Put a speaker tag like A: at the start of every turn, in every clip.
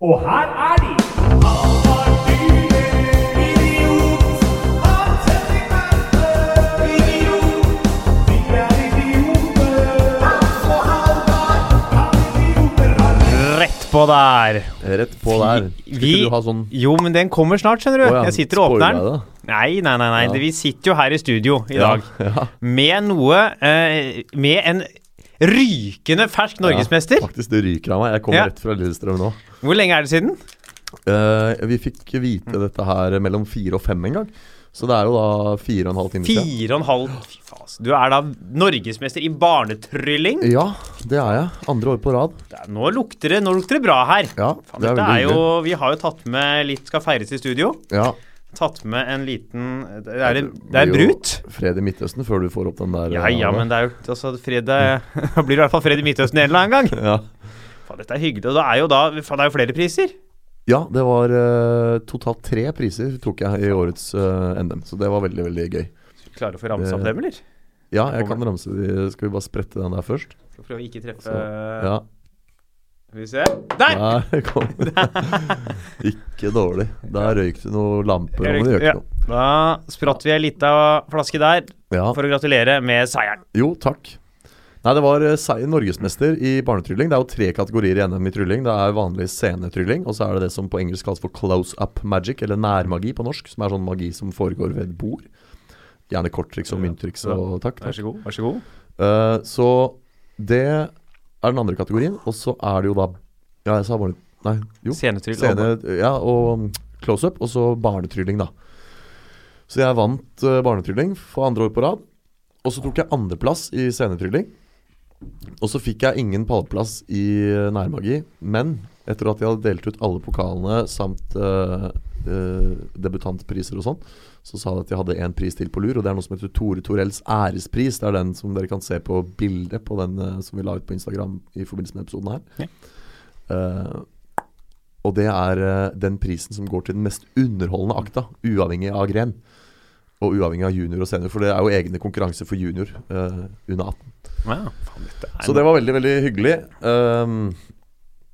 A: Og her er de! Rett på der.
B: Rett på der. Skal
A: Vi,
B: ikke du ha sånn
A: Jo, men den kommer snart, skjønner du.
B: Å ja,
A: Jeg sitter og åpner
B: spoiler
A: den.
B: jeg
A: Nei, nei, nei. nei.
B: Ja.
A: Vi sitter jo her i studio i dag
B: Ja, ja.
A: med noe eh, Med en rykende fersk norgesmester.
B: Ja, faktisk, det ryker av meg. Jeg kom
A: Ja.
B: rett fra Lillestrøm nå.
A: Hvor lenge er det siden?
B: Eh, vi fikk vite dette her mellom fire og fem en gang. Så det er jo da fire og en halv time siden.
A: Fire og en halv Fy faen, altså. Du er da norgesmester i barnetrylling.
B: Ja, det er jeg. Andre år på rad.
A: Det er- Nå lukter det, nå lukter det bra her.
B: Ja,
A: Faen,
B: det er
A: dette
B: veldig
A: er jo,
B: hyggelig.
A: vi har jo tatt med litt Skal feires i studio.
B: Ja,
A: Tatt med en liten Det er, en- det er
B: blir jo
A: brut.
B: Fred i Midtøsten før du får opp den der.
A: Ja ja,
B: eh,
A: men det er jo altså, fred, er- Da blir det i hvert fall fred i Midtøsten en eller annen gang.
B: ja.
A: Faen, dette er hyggelig. Og det er jo da faen, det er jo flere priser.
B: ja, det var eh, totalt tre priser tok jeg i årets eh, NM, så det var veldig, veldig gøy.
A: Klarer du å få ramsa opp
B: Det-
A: dem, eller? Skal
B: Ja, jeg kan ramse de Skal vi bare sprette den der først?
A: prøve å ikke treffe
B: Ja.
A: Skal vi se. Der!
B: Der kom den. Ikke dårlig. Der røyk det noen lamper, men det gjør
A: Ja.
B: ikke noe.
A: Da spratt vi ei lita flaske der
B: Ja.
A: for å gratulere med seieren.
B: Jo, takk. Nei, det var eh, seier norgesmester i barnetrylling. Det er jo tre kategorier i NM i trylling. Det er vanlig scenetrylling, og så er det det som på engelsk kalles for close up magic, eller nærmagi på norsk, som er sånn magi som foregår ved et bord. Gjerne korttriks og mynttriks og takk.
A: Vær
B: takk.
A: så god. Vær så god.
B: Eh, så det er den andre kategorien, og så er det jo da Ja, jeg sa barne... Nei, jo.
A: Scenetryll.
B: Scene, ja, og um, close up, og så barnetrylling, da. Så jeg vant eh, barnetrylling for andre år på rad. Og så tok jeg andreplass i scenetrylling. Og så fikk jeg ingen pallplass i eh, nærmagi, men etter at jeg hadde delt ut alle pokalene samt eh, eh, debutantpriser og sånn, så sa de at jeg hadde én pris til på lur, og det er noe som heter Tore Torells ærespris. Det er den som dere kan se på bildet på den eh, som vi la ut på Instagram i forbindelse med episoden her.
A: Ja.
B: Eh, og det er eh, den prisen som går til den mest underholdende akta, uavhengig av gren. Og uavhengig av junior og senior, for det er jo egne konkurranser for junior eh, under 18.
A: Ja, faen, dette er
B: Så det var veldig, veldig hyggelig. Um,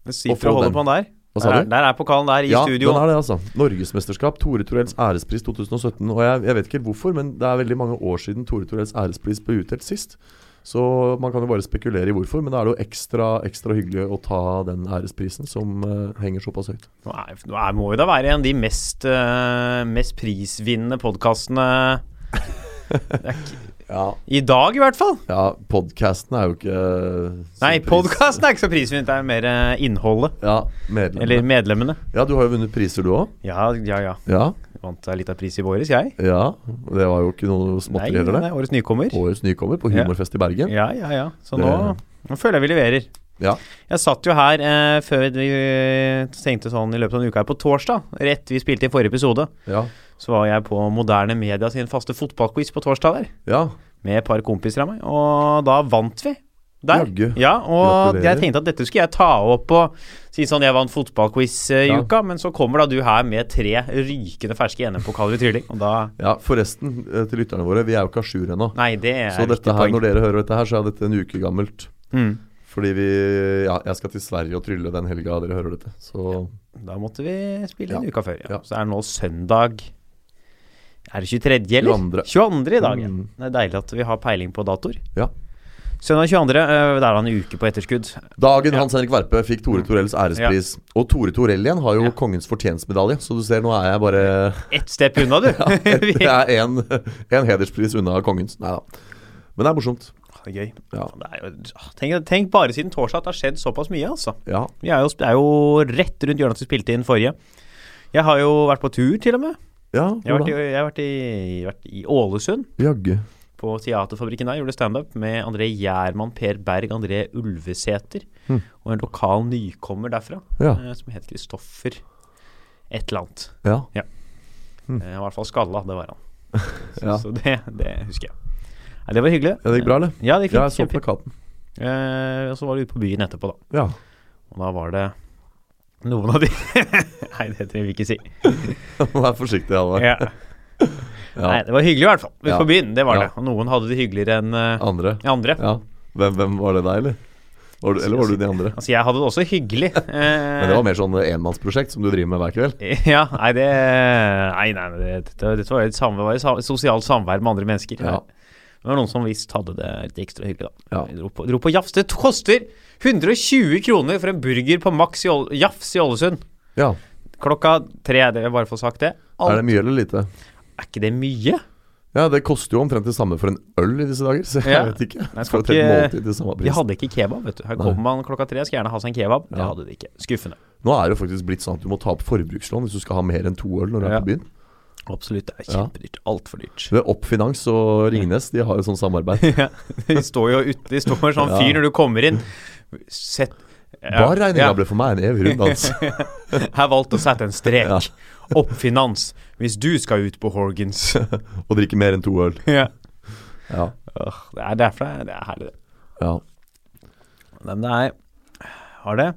A: Det
B: Å
A: sitter
B: få
A: og holder
B: den.
A: på den der.
B: Hva sa
A: der, er-
B: du?
A: der er pokalen der i
B: ja,
A: studio.
B: den er det, altså. Norgesmesterskap, Tore Torells ærespris 2017. Og jeg, jeg vet ikke helt hvorfor, men det er veldig mange år siden Tore Torells ærespris ble utdelt sist. Så man kan jo bare spekulere i hvorfor, men da er det jo ekstra, ekstra hyggelig å ta den æresprisen som eh, henger såpass høyt.
A: Nå, er, nå er, må jo da være en av de mest, eh, mest prisvinnende podkastene
B: Ja,
A: i dag, i hvert fall.
B: ja podkasten er jo ikke eh, så
A: Nei,
B: pris-
A: podkasten er ikke så prisvinnende, det er mer eh, innholdet.
B: Ja,
A: Eller
B: medlemmene.
A: medlemmene.
B: Ja, du har jo vunnet priser, du òg.
A: Ja, ja, ja.
B: Ja,
A: Vant deg litt av pris i våres, jeg.
B: ja. Og Det var jo ikke noe
A: Nei,
B: småtteri heller,
A: nei,
B: det.
A: årets nykommer.
B: Årets nykommer på
A: Ja.
B: Humorfest i Bergen.
A: Ja, ja, ja. Så
B: Det-
A: nå, nå føler jeg vi leverer.
B: Ja.
A: Jeg satt jo her eh, før vi tenkte sånn i løpet av en uke her på torsdag, rett vi spilte i forrige episode.
B: Ja.
A: Så var jeg på Moderne Media sin faste fotballquiz på torsdag der,
B: ja.
A: med et par kompiser av meg, og da vant vi. Der.
B: Jaggu.
A: Ja, og
B: Gratulerer.
A: jeg tenkte at dette skulle jeg ta opp og si sånn jeg vant fotballquiz eh, i
B: Ja.
A: uka, men så kommer da du her med tre rykende ferske NM-pokaler i trylling, og da
B: ja. Forresten, eh, til lytterne våre, vi er jo ikke à jour ennå.
A: Nei, det er
B: Så
A: viktig
B: dette her,
A: poeng.
B: når dere hører dette her, så er dette en uke gammelt.
A: Mm.
B: Fordi vi Ja, jeg skal til Sverige og trylle den helga dere hører dette. Så
A: Da måtte vi spille inn
B: Ja.
A: uka før, ja.
B: Ja.
A: Så er det nå søndag Er det 23., eller?
B: 22..
A: 22. i dag, ja.
B: Mm.
A: Det er deilig at vi har peiling på datoer.
B: Ja.
A: Søndag 22., øh, det er da en uke på etterskudd.
B: Dagen Hans Henrik Verpe fikk Tore Torells ærespris. Og Tore Torell igjen har jo
A: Mm. Ja.
B: Kongens fortjenstmedalje, så du ser nå er jeg bare
A: Ett step unna, du! Vi-
B: Jeg er én hederspris unna Kongens. Nei da. Men det er morsomt.
A: Det er gøy.
B: Ja.
A: Det er jo, ah, tenk, tenk bare siden torsdag at det har skjedd såpass mye, altså.
B: Ja.
A: Vi er jo, det er jo rett rundt hjørnet at vi spilte inn forrige. Jeg har jo vært på tur, til og med.
B: Ja,
A: Jeg har vært i,
B: hvordan?
A: jeg har vært i, jeg har vært i Ålesund,
B: Jaggu.
A: på Teaterfabrikken der. Gjorde standup med André Gjerman, Per Berg, André Ulvesæter
B: Mhm.
A: og en lokal nykommer derfra
B: Ja.
A: eh, som het Kristoffer et eller annet.
B: Ja.
A: Eh, Han var i hvert fall skalla, det var han. Så,
B: Hmm. Ja.
A: så det, det husker jeg. Nei, det var hyggelig.
B: Ja, det gikk bra, eller?
A: Ja, det gikk
B: Ja,
A: fint.
B: jeg så
A: kjempefint.
B: plakaten.
A: Eh, og så var du ute på byen etterpå, da.
B: Ja.
A: Og da var det noen av de Nei, det trenger vi ikke si.
B: Vær forsiktig, Alvar.
A: Ja. Nei, det var hyggelig i hvert fall. Ute
B: Ja.
A: på byen, det var
B: Ja.
A: det. Og noen hadde det hyggeligere enn eh,
B: Andre.
A: andre.
B: Ja. Hvem, hvem var det deg, eller? Var du, eller var du de andre?
A: Altså, jeg hadde det også hyggelig. eh,
B: Men det var mer sånn enmannsprosjekt som du driver med hver kveld.
A: Ja, nei, det Nei, nei, nei, det, det, dette var jo et samvær, var jo sam- sosialt samvær med andre mennesker.
B: Ja.
A: Det var noen som visst hadde det litt ekstra hyggelig, da.
B: Ja.
A: Vi Dro, på, dro på jafs. Det koster 120 kroner for en burger på Max i Ål- Jafs i Ålesund.
B: ja.
A: Klokka tre, det vil jeg bare få sagt det. Alt,
B: Er det mye eller lite?
A: er ikke det mye?
B: Ja, det koster jo omtrent det samme for en øl i disse dager, så jeg
A: Ja.
B: vet ikke.
A: Nei, skal
B: For et helt
A: ikke-
B: måltid til samme
A: De
B: pris.
A: hadde ikke kebab, vet du. Her
B: Nei.
A: kommer man klokka tre, skal gjerne ha seg en kebab. Det
B: Ja.
A: hadde de ikke. Skuffende.
B: Nå er det jo faktisk blitt sånn at du må ta opp forbrukslån hvis du skal ha mer enn to øl når du
A: Ja.
B: er på byen.
A: Absolutt, det er
B: Ja.
A: kjempedyrt. Altfor dyrt.
B: Ved Opp Finans og Ringnes, de har jo sånn samarbeid.
A: Ja, de står jo ute, de står sånn fyr når du kommer inn. Sett ja,
B: Bare regninga
A: ja.
B: ble for meg en evig runddans.
A: Her valgte å sette en strek.
B: Ja.
A: Opp finans hvis du skal ut på Horgans.
B: Og drikke mer enn to øl.
A: ja.
B: Ja.
A: Åh, det er derfor det er- det er herlig, det.
B: ja.
A: Men det er Har det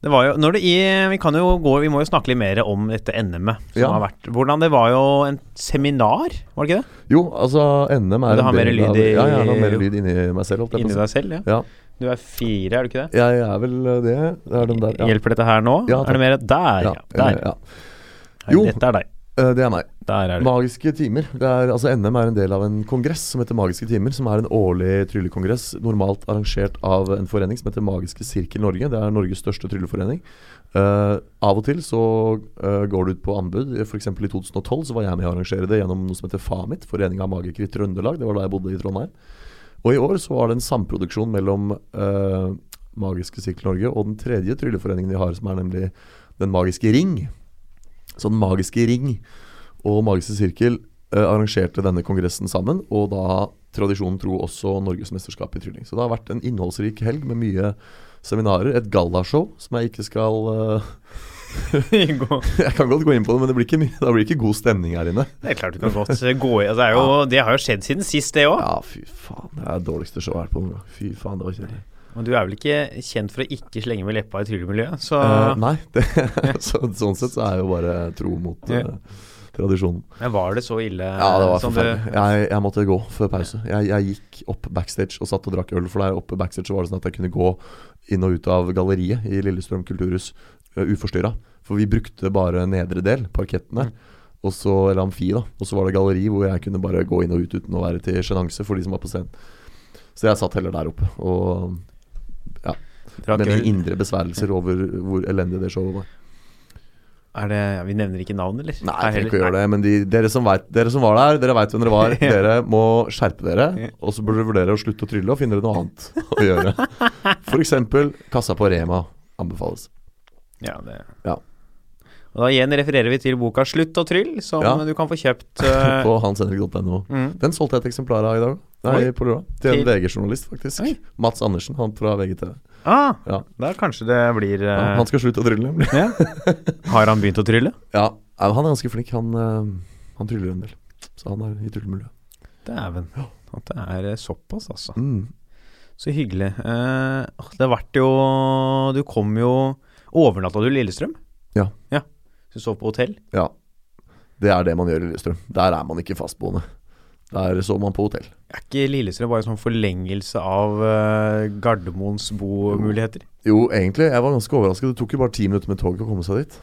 A: det var jo, når det i, vi, kan jo gå, vi må jo snakke litt mer om dette NM-et som
B: Ja.
A: har vært. Hvordan Det var jo en seminar, var det ikke det?
B: Jo, altså, NM
A: Men
B: er
A: du har
B: en
A: mer
B: del
A: lyd
B: av-
A: i-
B: Ja, jeg har mer lyd inni meg selv, holdt jeg
A: Inni
B: på å si.
A: deg selv? ja
B: Ja.
A: Du er fire, er du ikke det?
B: Jeg er vel det. Det er den der, ja.
A: Hjelper dette her nå?
B: Ja,
A: er det mer der? Ja,
B: Ja, Eh,
A: der.
B: ja. Jo.
A: Dette er deg.
B: Eh, Det er meg.
A: Der er du.
B: Magiske timer. Det er, altså NM er en del av en kongress som heter Magiske timer. Som er en årlig tryllekongress, normalt arrangert av en forening som heter Magiske sirkel Norge. Det er Norges største trylleforening. Eh, av og til så eh, går det ut på anbud. F.eks. i 2012 så var jeg med å arrangere det gjennom noe som heter FAMIT, Foreninga av magikere i Trøndelag. Det var da jeg bodde i Trondheim. Og i år så var det en samproduksjon mellom eh, Magiske sirkel Norge og den tredje trylleforeningen vi har, som er nemlig Den magiske ring. Så Den magiske ring og Magiske sirkel eh, arrangerte denne kongressen sammen, og da tradisjonen tro også Norgesmesterskapet i trylling. Så det har vært en innholdsrik helg med mye seminarer. Et gallashow som jeg ikke skal eh,
A: Gå-
B: Jeg kan godt gå inn på det, men det blir ikke, mye, det blir ikke god stemning her inne.
A: Det er klart du kan godt gå i altså, det, er jo, det har jo skjedd siden sist, det òg.
B: Ja, fy faen. Det er det dårligste showet jeg har vært på noen gang. Fy faen, det var kjedelig.
A: Men du er vel ikke kjent for å ikke slenge med leppa i tryllemiljøet, så
B: Eh, nei, det, så, sånn sett så er jeg jo bare tro mot eh,
A: Ja.
B: tradisjonen.
A: Men var det så ille?
B: Ja, det var
A: som du-
B: forferdelig. Jeg, jeg måtte gå før pause. Jeg, jeg gikk opp backstage og satt og drakk øl. For der oppe backstage så var det sånn at jeg kunne gå inn og ut av galleriet i Lillestrøm kulturhus uh, uforstyrra. For vi brukte bare nedre del, parketten
A: Mm.
B: der. Og så, eller amfi, da. Og så var det galleri hvor jeg kunne bare gå inn og ut uten å være til sjenanse for de som var på scenen. Så jeg satt heller der oppe. Og
A: drakk øl.
B: med mine indre besværelser over hvor elendig det showet var.
A: Er det, ja, vi nevner ikke navn, eller? Er
B: Nei, jeg trenger
A: heller-
B: ikke å gjøre det. Men de, dere, som vet, dere som var der, dere veit hvem dere var.
A: Ja.
B: Dere må skjerpe
A: Ja.
B: dere. Og så burde dere vurdere å slutte å trylle og finne dere noe annet å gjøre. F.eks. kassa på Rema anbefales.
A: Ja, det.
B: Ja.
A: Og da igjen refererer vi til boka 'Slutt og tryll', som
B: Ja.
A: du kan få kjøpt eh,
B: På hanshenrik.no.
A: mm.
B: Den solgte jeg et eksemplar av i dag. Nei,
A: Oi.
B: på lørdag. Til en
A: Til-
B: VG-journalist, faktisk.
A: Oi.
B: Mats Andersen, han fra VGTV.
A: ah,
B: Ja.
A: Da kanskje det blir
B: Ja,
A: eh,
B: han skal slutte å trylle, nemlig.
A: ja. Har han begynt å trylle?
B: Ja, han er ganske flink. Han, eh, han tryller en del. Så han er i tryllemiljøet.
A: Dæven. At det er eh, såpass, altså.
B: Mm.
A: Så hyggelig. Eh, åh, det har vært jo Du kom jo Overnatta du i Lillestrøm?
B: Ja.
A: ja. Så Du sov på hotell?
B: Ja. Det er det man gjør i Lillestrøm. Der er man ikke fastboende. Der sover man på hotell.
A: Er ikke Lillestrøm bare en sånn forlengelse av eh, Gardermoens bomuligheter?
B: Jo, egentlig. Jeg var ganske overrasket. Det tok jo bare ti minutter med toget å komme seg dit.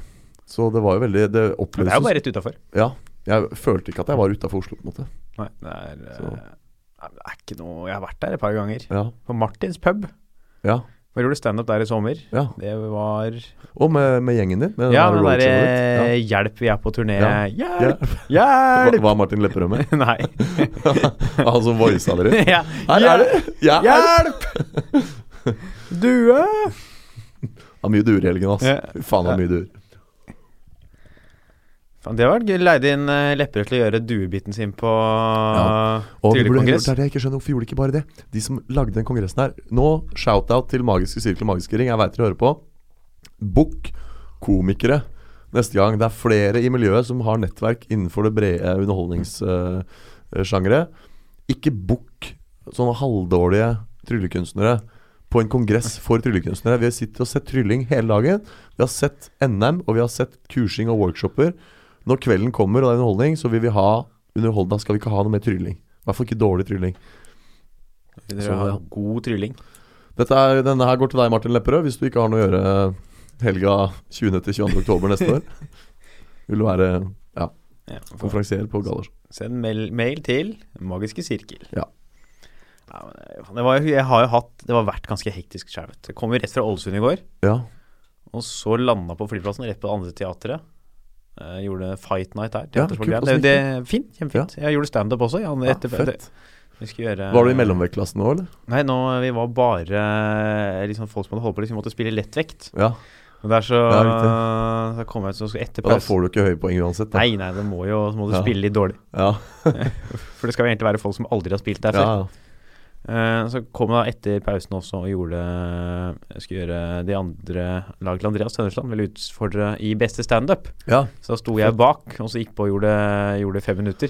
B: Så det var jo veldig Det
A: Men Det er jo
B: opplevdes
A: bare rett utafor.
B: Ja. Jeg følte ikke at jeg var utafor Oslo, på en måte.
A: Nei, det er, eh,
B: Så.
A: nei, men det er ikke noe Jeg har vært der et par ganger.
B: Ja.
A: På Martins pub.
B: Ja.
A: Hvor jeg gjorde standup der i sommer.
B: ja.
A: Det var
B: Og med, med gjengen din. Med
A: Ja,
B: den
A: den
B: der
A: derre eh,
B: roadshowet ditt.
A: 'Hjelp, vi er på turné'.
B: Ja. Ja.
A: Hjelp!
B: Ja. Hva-
A: Hjelp!
B: Var Martin Lepperød med?
A: Nei.
B: Han som voisa dere?
A: ja.
B: Her er det!
A: Ah,
B: Ja. Det
A: Hjelp! Due!
B: er mye duer i helgen, ass.
A: Ja.
B: Fy faen, det er mye duer.
A: Faen, Det var gøy. Leide inn eh, Lepperød til å gjøre duebiten sin på
B: Og vi burde
A: tryllekongress.
B: heller gjort det er det jeg ikke skjønner Hvorfor gjorde de ikke bare det? De som lagde den kongressen her Nå, shout-out til Magiske Sirkel og Magiske Ring. Jeg veit dere hører på. Book komikere neste gang. Det er flere i miljøet som har nettverk innenfor det brede underholdningssjangeret. ikke book sånne halvdårlige tryllekunstnere på en kongress for tryllekunstnere. Vi har sittet og sett trylling hele dagen. Vi har sett NM, og vi har sett kursing og workshoper. Når kvelden kommer og det er underholdning, så vil vi ha underhold, da skal vi ikke ha noe mer trylling. I hvert fall ikke dårlig trylling.
A: Dere
B: Så,
A: har
B: ja.
A: god trylling.
B: Dette er, denne her går til deg, Martin Lepperød, hvis du ikke har noe å gjøre helga 20. til 22. oktober neste år. Vil du være ja,
A: Ja, får
B: konferansier på Gallers.
A: send mail, mail til Magiske sirkel.
B: Ja.
A: Ja, men eh, det- det var, jo- jeg har jo hatt Det har vært ganske hektisk skjær, vet du. Kom jo rett fra Ålesund i går,
B: Ja.
A: og så landa på flyplassen rett på det andre teatret. Eh, gjorde Fight Night der.
B: Ja,
A: teaterprogram. det,
B: kult. Hvordan
A: det, fint, kjempefint. Jeg gjorde standup også. Jeg,
B: ja
A: etter, det,
B: fett.
A: vi skulle gjøre,
B: Var du i mellomvektklassen nå, eller?
A: Nei, nå, vi var bare eh, liksom, folk som hadde holdt på, liksom, måtte spille lettvekt.
B: Ja.
A: Og der så,
B: Ja,
A: så kom jeg ut så skulle etter
B: ja da
A: pausen
B: får du ikke høye poeng uansett. Da.
A: Nei, nei, det må jo, så må du
B: Ja.
A: spille litt dårlig.
B: Ja.
A: For det skal jo egentlig være folk som aldri har spilt der
B: ja.
A: før. Eh, så kom jeg da etter pausen også og gjorde Jeg skulle gjøre de andre laget til Andreas Tønnesland, ville utfordre i beste standup.
B: ja.
A: Så da sto jeg bak, og så gikk på og gjorde, gjorde fem minutter.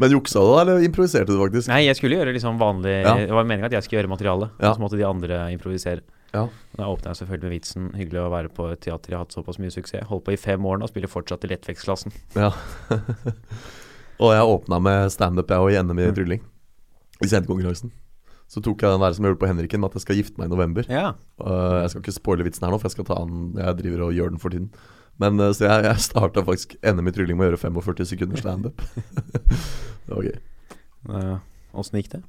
B: Men juksa du da, eller improviserte du faktisk?
A: Nei, jeg skulle gjøre liksom vanlig
B: Ja.
A: Det var meninga at jeg skulle gjøre materiale,
B: Ja.
A: og så måtte de andre improvisere.
B: Ja.
A: Da åpna jeg selvfølgelig med vitsen. Hyggelig å være på et teater jeg har hatt såpass mye suksess. Holdt på i fem år nå, spiller fortsatt i lettvektsklassen.
B: Og jeg åpna med standup, jeg òg, i NM i
A: Mm.
B: trylling. I scenekonkurransen. Så tok jeg den der som jeg gjorde på Henriken, med at jeg skal gifte meg i november.
A: Ja.
B: Uh, jeg skal ikke spoile vitsen her nå, for jeg skal ta den Jeg driver og gjør den for tiden. Men uh, Så jeg, jeg starta faktisk NM i trylling med å gjøre 45 sekunder standup. det var gøy.
A: Eh, Åssen gikk det?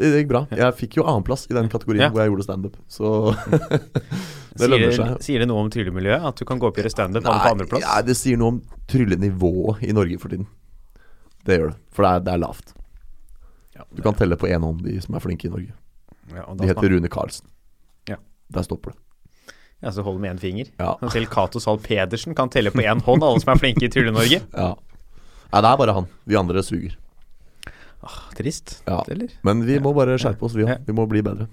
B: Det gikk bra. Jeg fikk jo annenplass i den kategorien
A: Ja.
B: hvor jeg gjorde standup. Så Det
A: Sier
B: lønner
A: det,
B: seg.
A: sier det noe om tryllemiljøet at du kan gå opp og gjøre standup alle på andreplass?
B: nei, det sier noe om tryllenivået i Norge for tiden. Det gjør det. For det er, det er lavt.
A: Ja,
B: Du kan telle på én hånd de som er flinke i Norge.
A: ja, og da
B: De
A: snakker-
B: heter Rune Karlsen.
A: Ja.
B: Der stopper det.
A: Ja, så hold med én finger.
B: Ja.
A: Men Selv Cato Zahl Pedersen kan telle på én hånd alle som er flinke i Trylle-Norge.
B: ja. Nei, det er bare han. Vi andre suger. Ah,
A: Trist,
B: Ja.
A: eller?
B: Men vi må bare skjerpe oss, vi
A: Ja.
B: òg. Vi må bli bedre.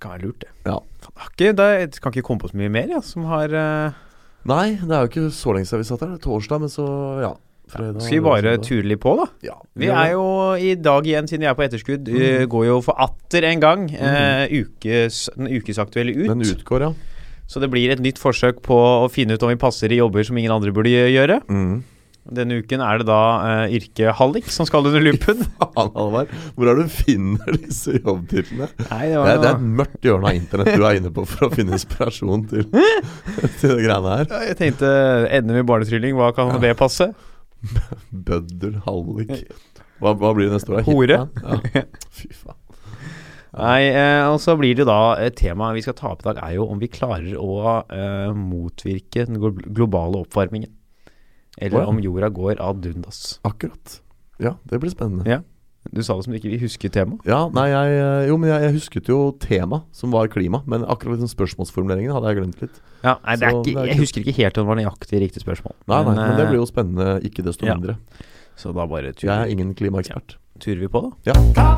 A: Kan være lurt, det.
B: Ja.
A: Faen, jeg har ikke, da, jeg kan ikke komme på så mye mer, ja, som har eh,
B: Nei, det er jo ikke så lenge siden vi satt her. Det er Torsdag, men så ja. Fredag,
A: Skal vi bare
B: søndag.
A: ture litt på, da?
B: Ja.
A: Vi er jo i dag igjen, siden vi er på etterskudd,
B: Mm.
A: eh, går jo for atter en gang eh, ukes, den ukesaktuelle ut.
B: Den utgår, ja.
A: Så det blir et nytt forsøk på å finne ut om vi passer i jobber som ingen andre burde gjøre.
B: Mm.
A: Denne uken er det da eh, yrket hallik som skal under lupen.
B: Faen, Halvard. Hvor er det du finner disse jobbtitlene?
A: Nei, det
B: Det,
A: var
B: er- det er et mørkt hjørne av internett du er inne på for å finne inspirasjon til, til det greiene her.
A: Ja, Jeg tenkte NM i barnetrylling, hva kan det passe?
B: Bøddel, hallik hva, hva blir det neste år? da?
A: Hore.
B: Hitman? Ja. Fy faen.
A: Nei, eh, og så blir det da eh, Temaet vi skal ta opp i dag, er jo om vi klarer å eh, motvirke den glo- globale oppvarmingen. Eller
B: Å, ja.
A: om jorda går ad undas.
B: Akkurat. Ja, det blir spennende.
A: Du sa det som du ikke husker temaet.
B: Ja, nei, jeg, eh, jo, men jeg, jeg husket jo tema, som var klima. Men akkurat den spørsmålsformuleringen hadde jeg glemt litt.
A: Ja, nei, det er
B: Så det
A: ikke,
B: er
A: jeg
B: kult.
A: husker ikke helt om det var nøyaktig riktig spørsmål.
B: Nei, nei, men
A: eh,
B: det blir jo spennende, ikke desto
A: ja.
B: mindre.
A: Så da bare
B: Jeg
A: turer,
B: er ingen klimaekspert.
A: turer vi på, da.
B: Ja.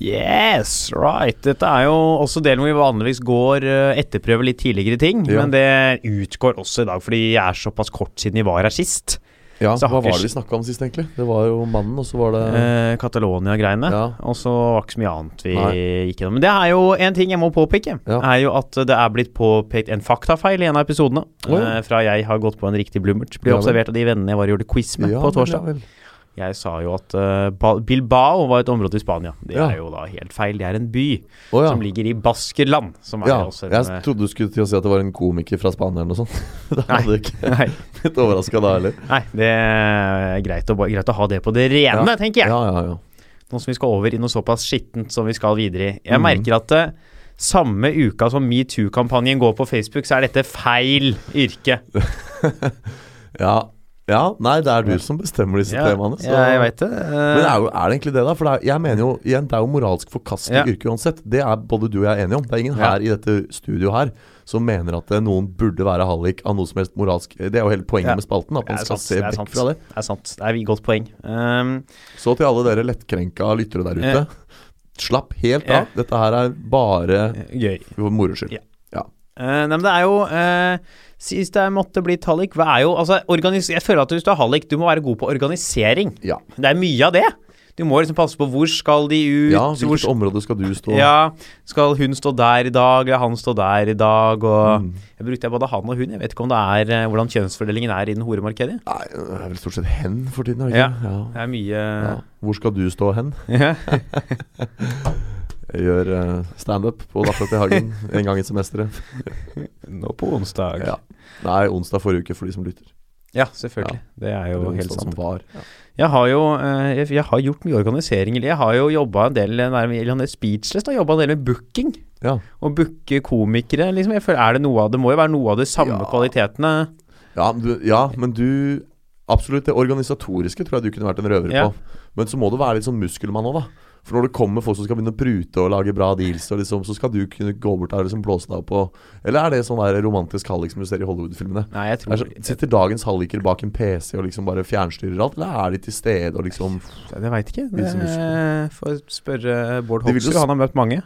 A: Yes, right. Dette er jo også delen hvor vi vanligvis går eh, etterprøver litt tidligere ting.
B: Ja.
A: Men det utgår også i dag, fordi jeg er såpass kort siden vi var her sist.
B: Ja,
A: Så
B: Hva
A: har
B: var
A: ikke-
B: det vi snakka om sist, egentlig? Det var jo mannen, og så var det
A: Eh, Catalonia-greiene.
B: Ja.
A: Og så var ikke så mye annet vi
B: Nei.
A: gikk gjennom. Men det er jo en ting jeg må påpeke.
B: Ja.
A: Er jo at det er blitt påpekt en faktafeil i en av episodene.
B: Å, ja.
A: eh, fra jeg har gått på en riktig blummert. Ble
B: Ja vel.
A: observert av de vennene jeg var og gjorde quiz med
B: ja,
A: på
B: vel,
A: torsdag.
B: ja vel.
A: Jeg sa jo at eh, Ba- Bilbao var et område i Spania. Det
B: Ja.
A: er jo da helt feil. Det er en by
B: Å ja.
A: som ligger i Baskerland. Som er
B: ja.
A: også en, eh,
B: Jeg trodde du skulle til å si at det var en komiker fra Spania eller noe sånt. Da hadde jeg ikke
A: eh, nei,
B: blitt overraska da heller.
A: nei, det er greit å, ba- greit å ha det på det rene, tenker jeg.
B: Ja, ja, ja.
A: Nå som vi skal over i noe såpass skittent som vi skal videre i. Jeg
B: Mhm.
A: merker at eh, samme uka som metoo-kampanjen går på Facebook, så er dette feil yrke.
B: Ja, ja. Nei, det er du som bestemmer disse temaene. så-
A: jeg veit det.
B: Men er, jo, er det egentlig det, da? For det er, jeg mener jo igjen, det er jo moralsk
A: Ja.
B: forkastelig yrke uansett. Det er både du og jeg enige om. Det er ingen
A: Ja.
B: her i dette studioet her som mener at eh, noen burde være hallik av noe som helst moralsk. Det er jo hele poenget
A: Ja.
B: med spalten, at man
A: Eh, Det er
B: skal
A: sant,
B: se
A: det er sant.
B: vekk fra det.
A: det er sant. Det er et godt poeng. Ehm,
B: Så til alle dere lettkrenka lyttere der ute.
A: Ja.
B: Slapp helt
A: Ja.
B: av. Dette her er bare
A: gøy.
B: for moro skyld.
A: Ja. Eh, nei, men det er jo eh, Sist jeg måtte bli hallik, hva er jo altså, organis Jeg føler at hvis du er hallik, du må være god på organisering.
B: Ja.
A: Det er mye av det. Du må liksom passe på hvor skal de ut,
B: ja
A: hvor
B: hvilket område skal du stå?
A: Ja, skal hun stå der i dag, eller han stå der i dag, og
B: Mm.
A: Jeg brukte både han og hun, jeg vet ikke om det er eh, hvordan kjønnsfordelingen er innen horemarkedet.
B: Nei, det er vel stort sett hen for tiden, er det
A: Ja.
B: ikke? Ja.
A: Det er mye
B: Ja. Hvor skal du stå hen?
A: ja.
B: Jeg gjør eh, standup på Dattera til Hagen en gang i semesteret.
A: Nå på onsdag.
B: Ja.
A: Ja,
B: Nei, onsdag forrige uke for de som lytter.
A: selvfølgelig. Det er
B: Eller
A: jo
B: onsdag
A: helt
B: sånn som
A: sant.
B: var. Ja.
A: Jeg har jo eh, jeg, jeg har gjort mye organisering. eller Jeg har jo jobba en del eh, nærmere- eller han er speechless, da, jobba en del med booking.
B: Ja.
A: Å booke komikere, liksom. Jeg føler, er det, noe av, det må jo være noe av de samme
B: Ja.
A: kvalitetene.
B: Ja, men du, ja, men du Absolutt, det organisatoriske tror jeg du kunne vært en røver
A: Ja.
B: på. Men så må du være litt sånn muskelmann òg, da. For når det kommer folk som skal begynne å prute og lage bra deals, og liksom, så skal du kunne gå bort der og liksom blåse deg opp og Eller er det sånn der romantisk hallik som du ser i Hollywood-filmene?
A: Nei, jeg
B: Er
A: tror
B: så- Sitter dagens halliker bak en PC og liksom bare fjernstyrer alt, eller er de til stede og liksom
A: Jeg veit ikke.
B: Litt som
A: Det, eh, får spørre Bård
B: De vil jo
A: Hoksrud. Han har møtt mange.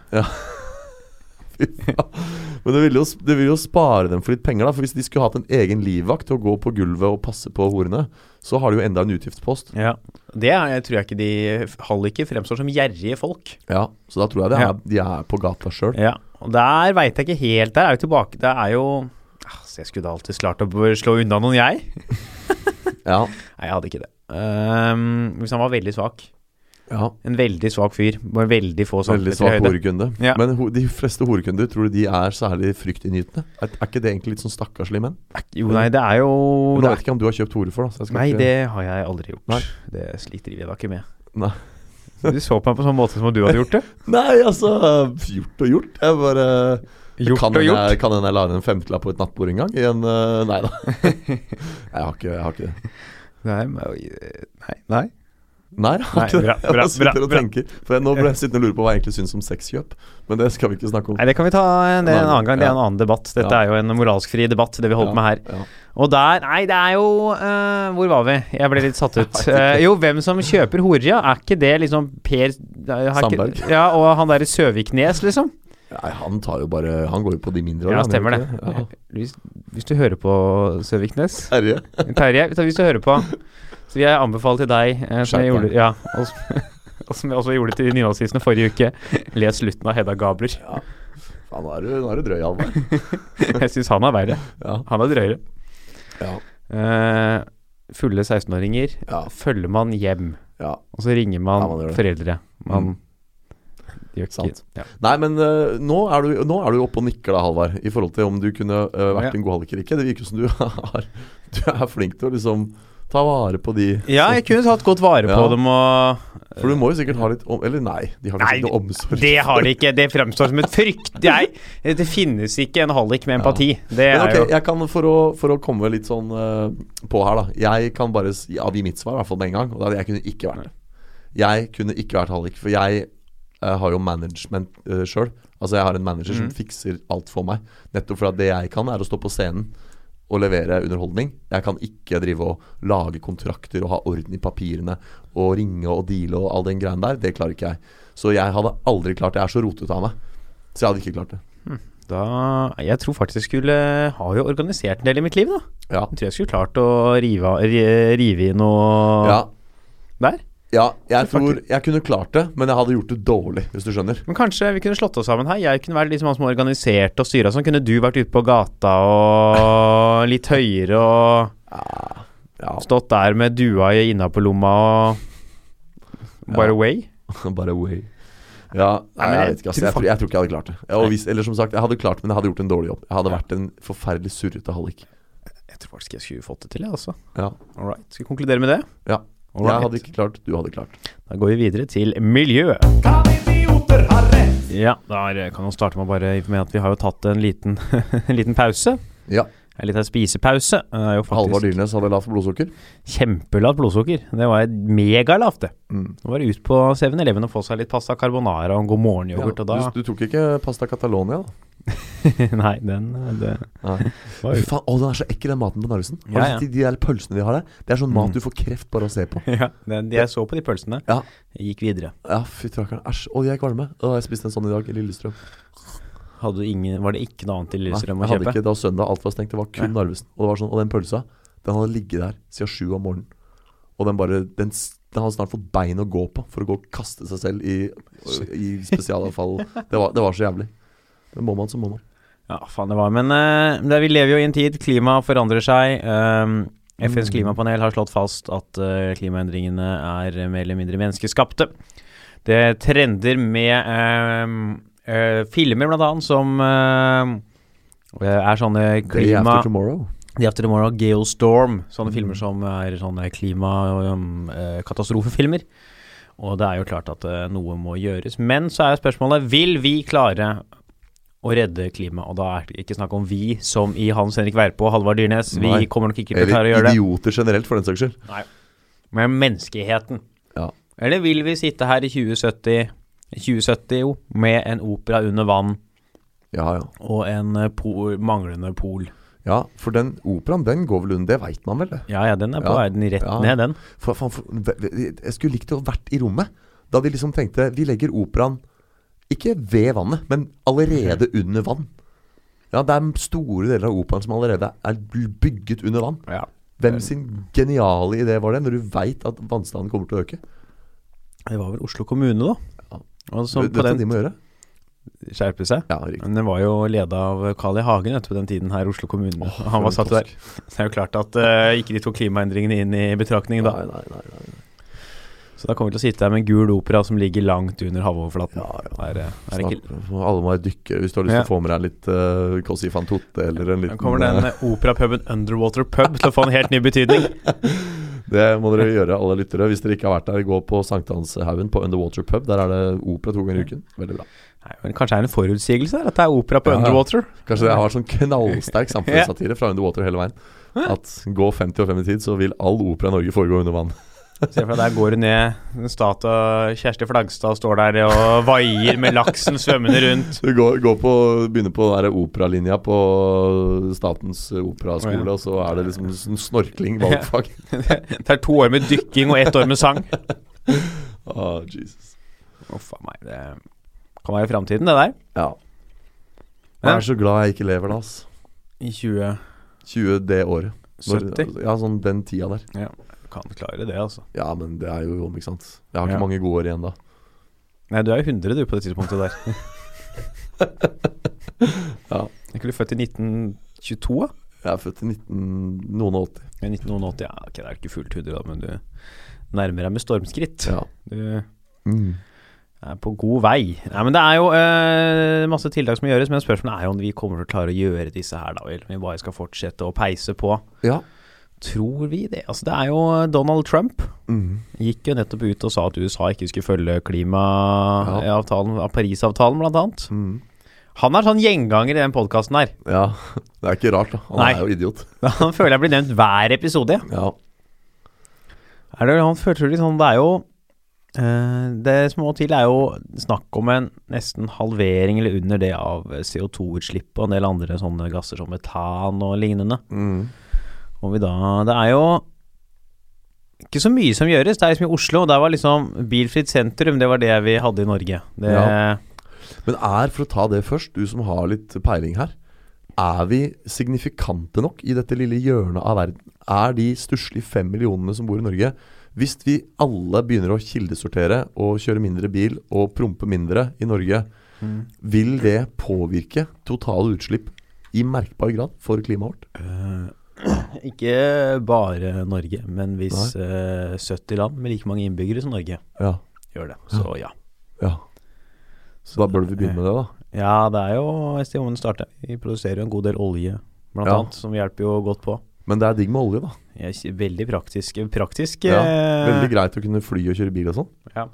B: Men det ville, jo, det ville jo spare dem for litt penger, da. For hvis de skulle hatt en egen livvakt til å gå på gulvet og passe på horene, så har de jo enda en utgiftspost.
A: Ja. Det er, jeg tror jeg ikke de Halliker fremstår som gjerrige folk.
B: Ja, så da tror jeg det er,
A: Ja.
B: de er på gata sjøl.
A: Ja. Og der veit jeg ikke helt. Der er jo tilbake Det er jo Altså, jeg skulle alltid klart å slå unna noen, jeg.
B: Ja,
A: Nei, jeg hadde ikke det. Ehm, hvis han var veldig svak.
B: ja.
A: En veldig svak fyr. Med veldig få
B: Veldig
A: centimeter i
B: svak
A: høyde.
B: horekunde.
A: Ja.
B: Men ho de fleste horekunder, tror du de er særlig fryktinngytende? Er, er ikke det egentlig litt sånn stakkarslige menn?
A: Jo, nei, det er jo det
B: Men
A: er,
B: Nå vet ikke jeg om du har kjøpt hore for, da. Så jeg skal
A: Nei,
B: ikke,
A: det har jeg aldri gjort.
B: Nei.
A: Det sliter jeg da ikke med.
B: Nei.
A: Du så på meg på sånn måte som om du hadde gjort det.
B: nei, altså Gjort og gjort. Jeg bare
A: Gjort og
B: kan hende
A: gjort.
B: Jeg, kan hende jeg la inn en femtelapp på et nattbord en gang. I en eh, Nei da. jeg, har ikke, jeg har ikke det.
A: Nei, men- nei. nei.
B: Nei, jeg har
A: Nei,
B: ikke det.
A: bra,
B: Jeg
A: bra,
B: bare sitter
A: bra,
B: og
A: bra.
B: tenker. For jeg, nå ble jeg sittende og lure på hva jeg egentlig syns om sexkjøp. Men det skal vi ikke snakke om.
A: Nei, det kan vi ta en, det er en annen gang. Det er en annen debatt. Dette
B: Ja.
A: er jo en moralsk fri debatt, det vi holder på med her.
B: Ja, ja.
A: Og der Nei, det er jo eh, Hvor var vi? Jeg ble litt satt ut. Eh, jo, hvem som kjøper horer, ja. Er ikke det liksom Per er ikke-
B: Sandberg.
A: Ja, og han derre Søviknes, liksom?
B: Nei, han tar jo bare Han går jo på de mindre.
A: Ja,
B: han gjør
A: stemmer det.
B: ikke Ja.
A: Hvis, hvis du hører på Søviknes
B: Terje.
A: Terje, hvis- hvis du hører på, så vil jeg anbefale til deg eh, som jeg
B: Skjerp deg.
A: gjorde, ja, og, og som jeg også gjorde til nynazistene forrige uke, les slutten av Hedda Gabler.
B: Faen, nå er du, nå er du drøy, Halvard.
A: Jeg syns han er verre.
B: Ja.
A: Han er drøyere.
B: Ja.
A: Eh, fulle 16-åringer
B: Ja.
A: følger man hjem,
B: Ja.
A: og så ringer man,
B: Ja, man gjør det. Mm.
A: foreldre. Man gjør ikke
B: Sant.
A: Ja.
B: Nei, men eh, nå, er du, nå er du oppe og nikker da, Halvard, i forhold til om du kunne eh, vært
A: Ja.
B: en god halliker eller ikke. Det virker som du er, du er flink til å liksom ta vare på de
A: ja, jeg kunne tatt godt vare på
B: Ja.
A: dem og
B: For du må jo sikkert ha litt om... Eller nei, de har
A: Nei,
B: kanskje ikke noe omsorg.
A: Det har de ikke. Det fremstår som et frykt... Nei, det finnes ikke en hallik med empati. Det
B: Men
A: er
B: ok,
A: jo
B: jeg kan for å, for å komme litt sånn eh, på her, da. Jeg kan bare si- avgi mitt svar, i hvert fall med en gang. Og det er at jeg kunne ikke vært det. Jeg kunne ikke vært hallik, for jeg eh, har jo management uh, sjøl. Altså, jeg har en manager som fikser alt for meg. Nettopp fordi at det jeg kan, er å stå på scenen og levere underholdning. Jeg kan ikke drive og lage kontrakter og ha orden i papirene og ringe og deale og all den greien der. Det klarer ikke jeg. Så jeg hadde aldri klart det. Jeg er så rotete av meg. Så jeg hadde ikke klart det.
A: Da Jeg tror faktisk jeg skulle Har jo organisert en del i mitt liv, da.
B: Ja.
A: Jeg tror jeg skulle klart å rive, av- ri- rive i noe
B: ja.
A: der.
B: Ja, jeg
A: Så
B: tror jeg kunne klart det, men jeg hadde gjort det dårlig, hvis du skjønner.
A: Men kanskje vi kunne slått oss sammen her. Jeg kunne vært liksom han som organiserte og styra sånn. Kunne du vært ute på gata og litt høyere og
B: Ja,
A: stått der med dua i innapålomma og By the way.
B: bare way. Ja, nei,
A: Nei, men jeg
B: jeg vet ikke,
A: tror
B: altså, jeg,
A: fakt-
B: tror, jeg tror ikke jeg hadde klart det. Ja, og hvis, eller som sagt, jeg hadde klart det, men jeg hadde gjort en dårlig jobb. Jeg hadde vært en forferdelig surrete hallik.
A: Jeg tror faktisk jeg skulle fått det til, jeg også.
B: Ja.
A: All right. Skal vi konkludere med det?
B: ja.
A: All right.
B: Jeg hadde ikke klart, du hadde klart.
A: Da går vi videre til miljø. Ja, der kan man starte med å bare informere at vi har jo tatt en liten, en liten pause.
B: Ja,
A: En liten spisepause. Det er jo
B: Halvard
A: faktisk
B: Dyrnes hadde lavt blodsukker.
A: kjempelavt blodsukker. Det var et megalavt, det.
B: Mm.
A: Nå var det ut på 7-Eleven og få seg litt pasta carbonara og en god
B: Ja,
A: morgen-yoghurt, og da
B: du, du tok ikke pasta Catalonia, da?
A: Nei, den det
B: Nei.
A: var
B: Fy
A: jo
B: faen, å, den er så ekkel, den maten på Narvesen.
A: Ja, Mm.
B: Har du
A: ja.
B: sett De der pølsene de har der, det er sånn mat du får kreft bare av å se på.
A: ja, den, Jeg så på de pølsene.
B: Ja.
A: Jeg gikk videre.
B: Ja, fy trakkeren. Æsj. Å, jeg kvalmer. Å, jeg spiste en sånn i dag i Lillestrøm.
A: Hadde du ingen, var det ikke noe annet i Lillestrøm å
B: Nei, jeg hadde
A: kjøpe?
B: ikke det var søndag, alt var stengt. Det var kun Narvesen. Og det var sånn, og den pølsa, den hadde ligget der siden sju om morgenen. Og den bare den, s- den hadde snart fått bein å gå på for å gå og kaste seg selv i, i spesialavfall. Det var, det var så jævlig. Men må man, så må man.
A: Ja, faen det var Men eh, det, vi lever jo i en tid. Klimaet forandrer seg. Ehm, FNs klimapanel har slått fast at eh, klimaendringene er mer eller mindre menneskeskapte. Det trender med eh, eh, filmer, blant annet, som eh, er sånne
B: Day
A: klima...
B: after tomorrow.
A: The After Tomorrow, Geostorm, sånne
B: Mm.
A: filmer som er sånne klimakatastrofefilmer. Og det er jo klart at eh, noe må gjøres. Men så er spørsmålet vil vi klare å redde klimaet? Og da er det ikke snakk om vi som i Hans Henrik Werpe og Halvard Dyrnes. Vi
B: Nei.
A: kommer nok ikke til å klare å
B: Eller
A: gjøre det.
B: idioter generelt, for den saks skyld.
A: Men menneskeheten.
B: Ja.
A: Eller vil vi sitte her i 2070, 2070 jo, med en opera under vann
B: Ja, ja.
A: og en eh, pol, manglende pol?
B: ja, for den operaen, den går vel under, det veit man vel? det.
A: Ja ja, den er på
B: Ja.
A: vei den rett
B: Ja.
A: ned, den.
B: For, faen, for, ve- ve- jeg skulle likt å ha vært i rommet da de liksom tenkte Vi legger operaen ikke ved vannet, men allerede under vann. Ja, det er store deler av operaen som allerede er bygget under vann.
A: Ja.
B: Hvem sin geniale idé var det, når du veit at vannstanden kommer til å øke?
A: Det var vel Oslo kommune, da.
B: Ja.
A: Og som
B: Vet
A: Sånn,
B: du
A: på
B: hva
A: den
B: de må gjøre?
A: skjerpe seg.
B: Ja, riktig.
A: Men den var jo leda av Carl I. Hagen vet du, på den tiden her, Oslo kommune. Han var satt der. Så det er jo klart at eh, ikke de tok klimaendringene inn i betraktning
B: Nei,
A: da.
B: nei, nei, nei.
A: Så da kommer vi til å sitte her med en gul opera som ligger langt under havoverflaten.
B: Ja, ja.
A: Det Er, eh, det er ikke...
B: Snakk, alle må være dykkere hvis du har lyst til
A: Ja.
B: å få med deg litt uh, Cossi van Totte eller
A: Da
B: en liten
A: kommer den
B: eh,
A: eh, operapuben Underwater Pub til å få en helt ny betydning.
B: Det må dere gjøre, alle lyttere. Hvis dere ikke har vært der, gå på Sankthanshaugen på Underwater Pub. Der er det opera to ganger i uken. Veldig bra.
A: Nei, men kanskje det er en forutsigelse der, at det er opera på
B: Ja, ja.
A: Underwater?
B: Kanskje det har vært sånn knallsterk samfunnssatire fra Underwater hele veien. At gå 50 og 5 i tid, så vil all opera i Norge foregå under vann.
A: Se for deg der går du ned, en statue Kjersti Flagstad står der og vaier med laksen svømmende rundt.
B: Du går, går på, begynner på den der operalinja på Statens operaskole,
A: Å, ja.
B: og så er det liksom sånn snorkling valgfag.
A: Det er to år med dykking og ett år med sang.
B: Ah, Jesus.
A: Uff a meg, det kan være framtiden, det der.
B: Ja. Jeg er så glad jeg ikke lever da, ass.
A: I 2070
B: 20 det året. Når- Ja, sånn den tida der.
A: kan klare det, altså.
B: Ja, men det er jo om, ikke sant. Jeg har
A: Ja.
B: ikke mange gode år igjen da.
A: Nei, du er jo 100 du på det tidspunktet der.
B: Ja.
A: Jeg kunne født i 1922, da.
B: Jeg er født i 19... noen og 80.
A: Men 1980, ja, ok, det er ikke fullt 100 da, men du nærmer deg med stormskritt.
B: Ja.
A: Du
B: Mm.
A: er på god vei. Nei, men det er jo eh, masse tiltak som må gjøres, men spørsmålet er jo om vi kommer til å klare å gjøre disse her, da, eller om vi bare skal fortsette å peise på.
B: ja.
A: Tror vi det? Altså, det er jo Donald Trump
B: Mm.
A: gikk jo nettopp ut og sa at USA ikke skulle følge klimaavtalen, Parisavtalen blant annet.
B: Mm.
A: Han er sånn gjenganger i den podkasten her.
B: Ja, det er ikke rart, da. Han
A: Nei.
B: er jo idiot.
A: Han føler jeg blir nevnt hver episode.
B: Ja.
A: Er det, han føler litt sånn, det er jo eh, Det som må til, er jo snakk om en nesten halvering eller under det av CO2-utslippet og en del andre sånne gasser som metan og lignende.
B: Mm.
A: Om vi da Det er jo ikke så mye som gjøres. Det er liksom i Oslo, og der var liksom bilfritt sentrum, det var det vi hadde i Norge. Det,
B: Ja. Men er, for å ta det først, du som har litt peiling her Er vi signifikante nok i dette lille hjørnet av verden? Er de stusslige fem millionene som bor i Norge Hvis vi alle begynner å kildesortere og kjøre mindre bil og prompe mindre i Norge Vil det påvirke totale utslipp i merkbar grad for klimaet vårt?
A: Ikke bare Norge, men hvis eh, 70 land med like mange innbyggere som Norge
B: Ja,
A: gjør det, så ja.
B: ja Så da bør vi begynne med det da
A: Ja, det er jo et sted hvor den starter. Vi produserer jo en god del olje, blant
B: Ja.
A: annet, som hjelper jo godt på.
B: Men det er digg med olje da
A: Jeg er ikke- veldig praktisk. Praktisk
B: Ja,
A: eh,
B: Veldig greit å kunne fly og kjøre bil og sånn
A: ja.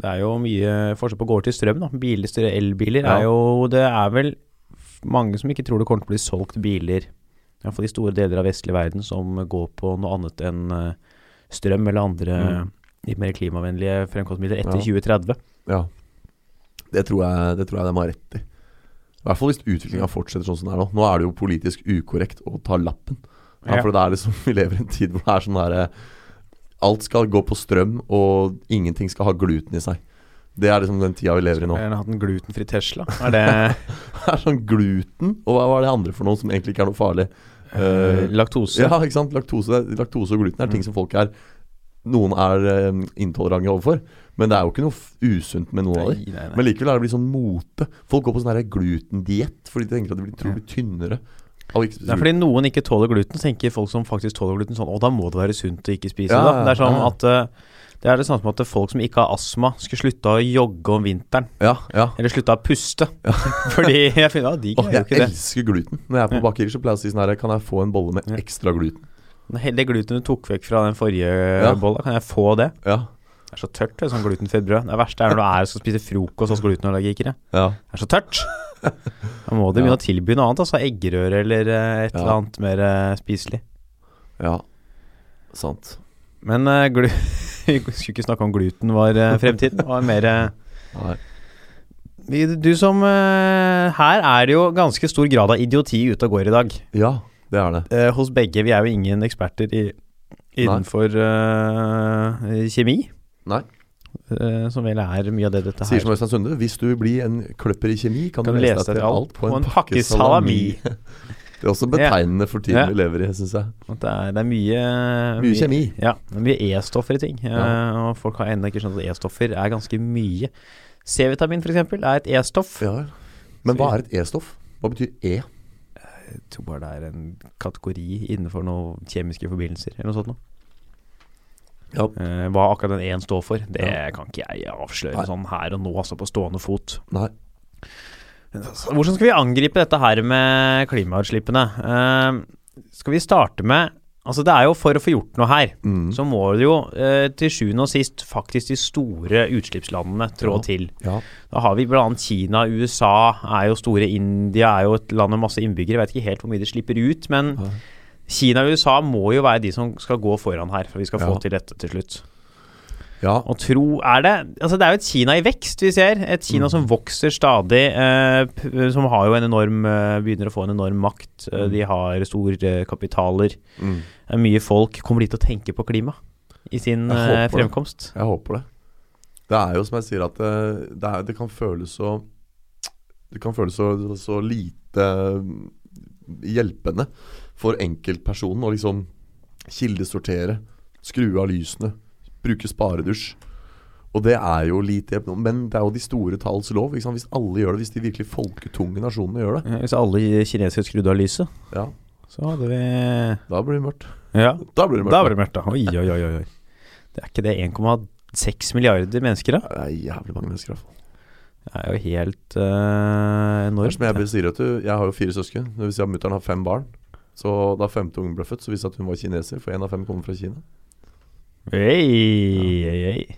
A: Det er jo mye forskjell på å gå over til strøm, da. Biler, større elbiler
B: Ja.
A: er jo Det er vel f- mange som ikke tror det kommer til å bli solgt biler, iallfall i store deler av vestlig verden, som går på noe annet enn eh, strøm eller andre
B: Mm.
A: litt mer klimavennlige fremkomstmidler etter
B: Ja.
A: 2030.
B: Ja. Det tror jeg, det tror jeg de har rett i. I hvert fall hvis utviklinga fortsetter sånn som det er nå. Nå er det jo politisk ukorrekt å ta lappen. Ja,
A: Ja.
B: for det er liksom, Vi lever i en tid hvor det er sånn derre Alt skal gå på strøm, og ingenting skal ha gluten i seg. Det er liksom den tida vi lever i nå.
A: Eller hatt en glutenfri Tesla. Er det
B: Det er sånn gluten, og hva var det andre for noe som egentlig ikke er noe farlig?
A: eh,
B: Eh,
A: laktose?
B: Ja, ikke sant? Laktose, laktose og gluten er
A: Mm.
B: ting som folk er Noen er eh, intolerante overfor, men det er jo ikke noe f- usunt med noen av dem.
A: Nei, nei, nei.
B: Men likevel er det blitt sånn mote. Folk går på sånn her glutendiett fordi de tenker at de blir, tror de blir tynnere. av å ikke spise
A: Det er fordi noen ikke tåler gluten, så tenker folk som faktisk tåler gluten sånn Å, da må det være sunt å ikke spise
B: Ja,
A: det. Det er
B: ja,
A: sånn
B: ja.
A: at eh, Det er det samme som at folk som ikke har astma, skulle slutte å jogge om vinteren.
B: Ja, ja.
A: Eller slutte å puste. Fordi jeg finner at de
B: Åh,
A: greier jo
B: jeg
A: ikke det.
B: elsker gluten. Når jeg er på bakerier, så pleier jeg å si sånn her Kan jeg få en bolle med
A: Ja.
B: ekstra gluten?
A: Hele det glutenet du tok vekk fra den forrige
B: Ja.
A: bolla, kan jeg få det?
B: Ja.
A: Det er så tørt, det, sånn glutenfritt brød. Det verste er når du er og skal spise frokost hos glutenallergikere.
B: ja.
A: Det er så tørt. Da må de begynne å tilby noe annet, altså eggerøre eller eh, et
B: Ja.
A: eller annet mer eh, spiselig.
B: Ja. Sant.
A: Men eh, glu vi skulle ikke snakke om gluten var eh, fremtiden. Det var mer eh,
B: Nei.
A: vi- Du som eh, Her er det jo ganske stor grad av idioti ute og går i dag.
B: Ja, det er det.
A: eh, hos begge. Vi er jo ingen eksperter i, innenfor eh, kjemi.
B: Nei.
A: eh, som vel er mye av det dette
B: Sier
A: her.
B: som Øystein Sunde, hvis du vil bli en kløpper i kjemi, kan, du lese deg til alt på en, pakke salami. Det er også betegnende for tiden
A: Ja.
B: vi lever i, syns jeg.
A: At det, er, det er mye
B: Mye kjemi.
A: Ja, det er mye E-stoffer i ting. eh,
B: Ja.
A: og folk har ennå ikke skjønt at E-stoffer er ganske mye. C-vitamin f.eks. er et E-stoff.
B: Ja. Men hva er et E-stoff? Hva betyr E?
A: Jeg tror bare det er en kategori innenfor noen kjemiske forbindelser eller noe sånt noe.
B: Ja.
A: Eh, hva akkurat den E-en står for, det
B: Ja.
A: kan ikke jeg avsløre
B: Nei.
A: sånn her og nå, altså på stående fot.
B: Nei.
A: Hvordan skal vi angripe dette her med klimautslippene? Eh, skal vi starte med Altså, det er jo for å få gjort noe her,
B: Mm.
A: så må det jo eh, til sjuende og sist faktisk de store utslippslandene trå
B: Ja.
A: til.
B: Ja.
A: Da har vi bl.a. Kina, USA er jo store, India er jo et land med masse innbyggere. Jeg vet ikke helt hvor mye de slipper ut, men
B: Nei.
A: Kina og USA må jo være de som skal gå foran her, for vi skal få
B: Ja.
A: til dette til slutt.
B: ja.
A: Og tro er det Altså, det er jo et Kina i vekst vi ser. Et Kina som vokser stadig. Eh, p- som har jo en enorm eh, Begynner å få en enorm makt. Eh, de har store eh, kapitaler.
B: Mm.
A: Det er mye folk. Kommer de til å tenke på klima i sin
B: Jeg
A: eh,
B: håper det.
A: fremkomst?
B: Jeg håper det. Det er jo som jeg sier, at det, det, er, det kan føles så Det kan føles så, så lite mm, hjelpende for enkeltpersonen å liksom kildesortere, skru av lysene, bruke sparedusj. Og det er jo lite hjelpende. Men det er jo de store talls lov. Ikke sant? Hvis alle gjør det, hvis de virkelig folketunge nasjonene gjør det,
A: Eh, Hvis alle kinesere skrudde av lyset,
B: ja,
A: så hadde vi
B: da blir det mørkt.
A: Ja,
B: Da blir det mørkt.
A: da ble det mørkt, da. Oi, oi, oi, oi. oi. Det er ikke det 1,6 milliarder mennesker, da?
B: Det er jævlig mange mennesker, i hvert fall.
A: Det er jo helt eh,
B: Det er som jeg
A: enormt.
B: bare sier, vet du. Jeg har jo fire søsken. Det vil si at mutter'n har fem barn. Så da femte ungen ble født, så visste jeg at hun var kineser, for én av fem kommer fra Kina.
A: Hei, hei, hei.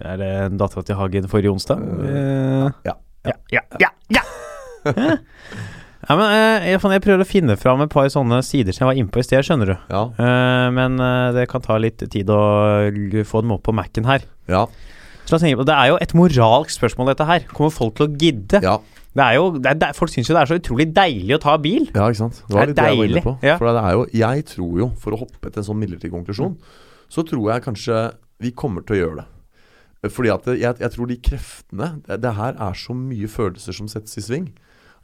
A: Er det en dattera til Hagen forrige onsdag? Eh,
B: ja,
A: ja, ja, ja, ja. Hæ? ja men, eh, jeg, faen, jeg prøver å finne fram et par sånne sider som jeg var inne på i sted, skjønner du.
B: Ja.
A: Eh, men eh, det kan ta litt tid å l- få dem opp på Mac-en her.
B: Ja.
A: Så la oss tenke på, Det er jo et moralsk spørsmål, dette her. Kommer folk til å gidde?
B: Ja,
A: Det er jo, det er, det, er- folk syns jo det er så utrolig deilig å ta bil.
B: ja ikke sant.
A: Det
B: Det
A: er
B: var litt det jeg var inne
A: deilig,
B: på.
A: ja.
B: For det er jo Jeg tror jo, for å hoppe til en sånn midlertidig konklusjon, så tror jeg kanskje vi kommer til å gjøre det. Fordi at jeg, jeg tror de kreftene det, det her er så mye følelser som settes i sving,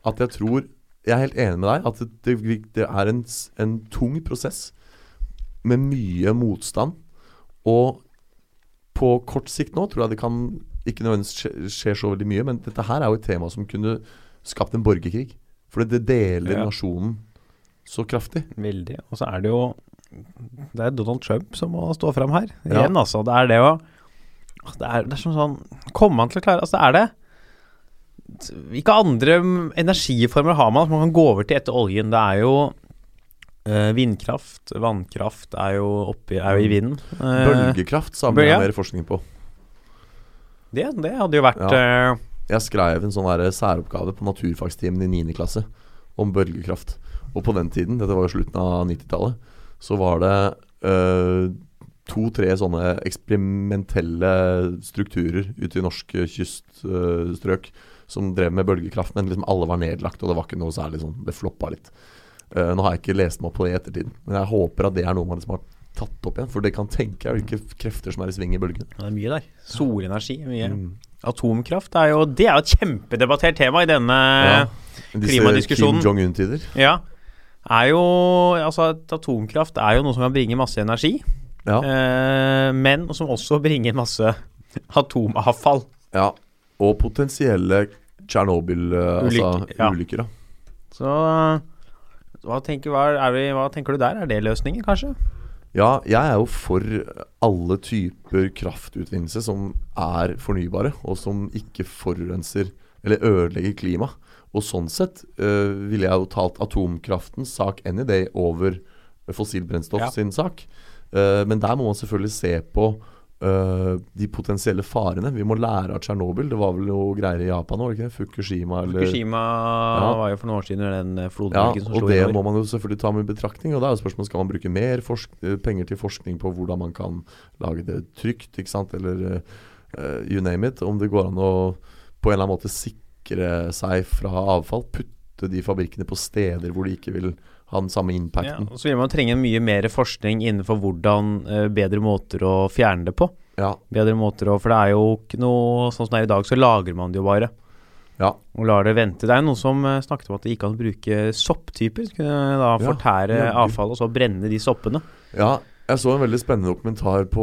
B: at jeg tror Jeg er helt enig med deg at det, det, det er en, s- en tung prosess med mye motstand. Og på kort sikt nå tror jeg det kan ikke nødvendigvis skje, skjer så veldig mye, men dette her er jo et tema som kunne skapt en borgerkrig. For det deler
A: Ja.
B: nasjonen så kraftig.
A: Veldig. Og så er det jo Det er Donald Trump som må stå fram her.
B: Ja.
A: Igjen, altså. Det er det å det er, det er som sånn Kommer man til å klare Altså, det er det Hvilke andre mm, energiformer har man som man kan gå over til etter oljen? Det er jo eh, vindkraft, vannkraft er jo, oppi, er jo i vinden. Eh,
B: Bølgekraft samler
A: bølge?
B: jeg mer forskning på.
A: det, det hadde jo vært eh,
B: Jeg skrev en sånn der særoppgave på naturfagstimen i 9. klasse om bølgekraft. Og på den tiden, dette var jo slutten av 90-tallet, så var det eh, to-tre sånne eksperimentelle strukturer ute i norske kyststrøk eh, som drev med bølgekraft, men liksom alle var nedlagt, og det var ikke noe særlig sånn Det floppa litt. Eh, nå har jeg ikke lest meg opp på det i ettertid, men jeg håper at det er noe man liksom har tatt opp igjen. For det kan tenke jeg hvilke krefter som er i sving i bølgen.
A: Det er mye der. Solenergi. Mye.
B: Mm.
A: Atomkraft er jo Det er jo et kjempedebattert tema i denne
B: Ja. Disse
A: klimadiskusjonen.
B: Kim Jong-un-tider.
A: Ja. Er jo Altså, at atomkraft er jo noe som kan bringe masse energi,
B: Ja.
A: eh, men som også bringer masse atomavfall.
B: Ja, og potensielle Tsjernobyl-ulykker.
A: Ulykker,
B: Altså,
A: ja.
B: ulykker, da.
A: Så hva tenker, hva, er vi, hva tenker du der? Er det løsningen, kanskje?
B: Ja, jeg er jo for alle typer kraftutvinnelse som er fornybare, og som ikke forurenser eller ødelegger klimaet. Og sånn sett øh, ville jeg jo talt atomkraftens sak any day over fossilt brennstoff
A: Ja.
B: sin sak. Eh, men der må man selvfølgelig se på øh, de potensielle farene. Vi må lære av Tsjernobyl. Det var vel noe greier i Japan òg? Fukushima eller
A: Fukushima
B: Ja.
A: var jo for noen år siden den eh,
B: ja,
A: flodbølgen som
B: og
A: slo
B: det må
A: innover.
B: man jo selvfølgelig ta med i betraktning. Og da er jo spørsmålet skal man bruke mer forsk eh, penger til forskning på hvordan man kan lage det trygt, ikke sant, eller eh, you name it. Om det går an å på en eller annen måte sikre seg fra avfall. Putte de fabrikkene på steder hvor de ikke vil ha den samme
A: Ja,
B: impacten.
A: og så vil man trenge mye mer forskning innenfor hvordan eh, bedre måter å fjerne det på.
B: Ja,
A: Bedre måter å For det er jo ikke noe Sånn som det er i dag, så lagrer man det jo bare.
B: ja,
A: Og lar det vente. Det er noen som eh, snakket om at det gikk an å bruke sopptyper. Så kunne da
B: Ja,
A: fortære
B: jaggu.
A: avfallet og så brenne de soppene.
B: ja. Jeg så en veldig spennende dokumentar på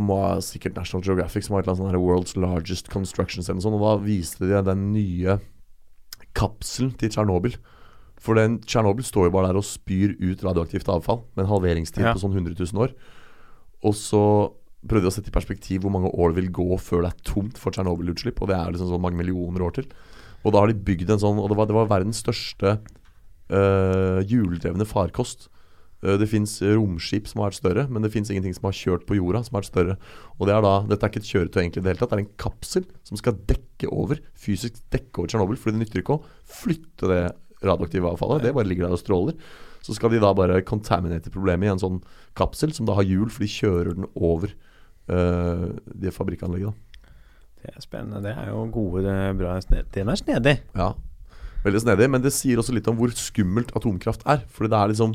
B: må ha sikkert National Geographic som var et eller annet sånn her World's Largest Construction Center. og sånn, Og da viste de den nye kapselen til Tsjernobyl. For den Tsjernobyl står jo bare der og spyr ut radioaktivt avfall med en halveringstid
A: Ja.
B: på sånn 100 000 år. Og så prøvde jeg å sette i perspektiv hvor mange år det vil gå før det er tomt for Tsjernobyl-utslipp, og det er liksom sånn mange millioner år til. Og da har de bygd en sånn Og det var, det var verdens største øh, hjuldrevne farkost. Øh, Det fins romskip som har vært større, men det fins ingenting som har kjørt på jorda som har vært større. Og det er da, Dette er ikke et kjøretøy egentlig i det hele tatt, det er en kapsel som skal dekke over, fysisk dekke over Tsjernobyl. Fordi det nytter ikke å flytte det radioaktive avfallet, det bare ligger der og stråler. Så skal de da bare contaminate problemet i en sånn kapsel som da har hjul, for de kjører den over øh, det fabrikkanlegget. da.
A: Det er spennende. Det er jo gode, det er bra sne- Den er snedig.
B: Ja, Veldig snedig, men det sier også litt om hvor skummelt atomkraft er. Fordi det er liksom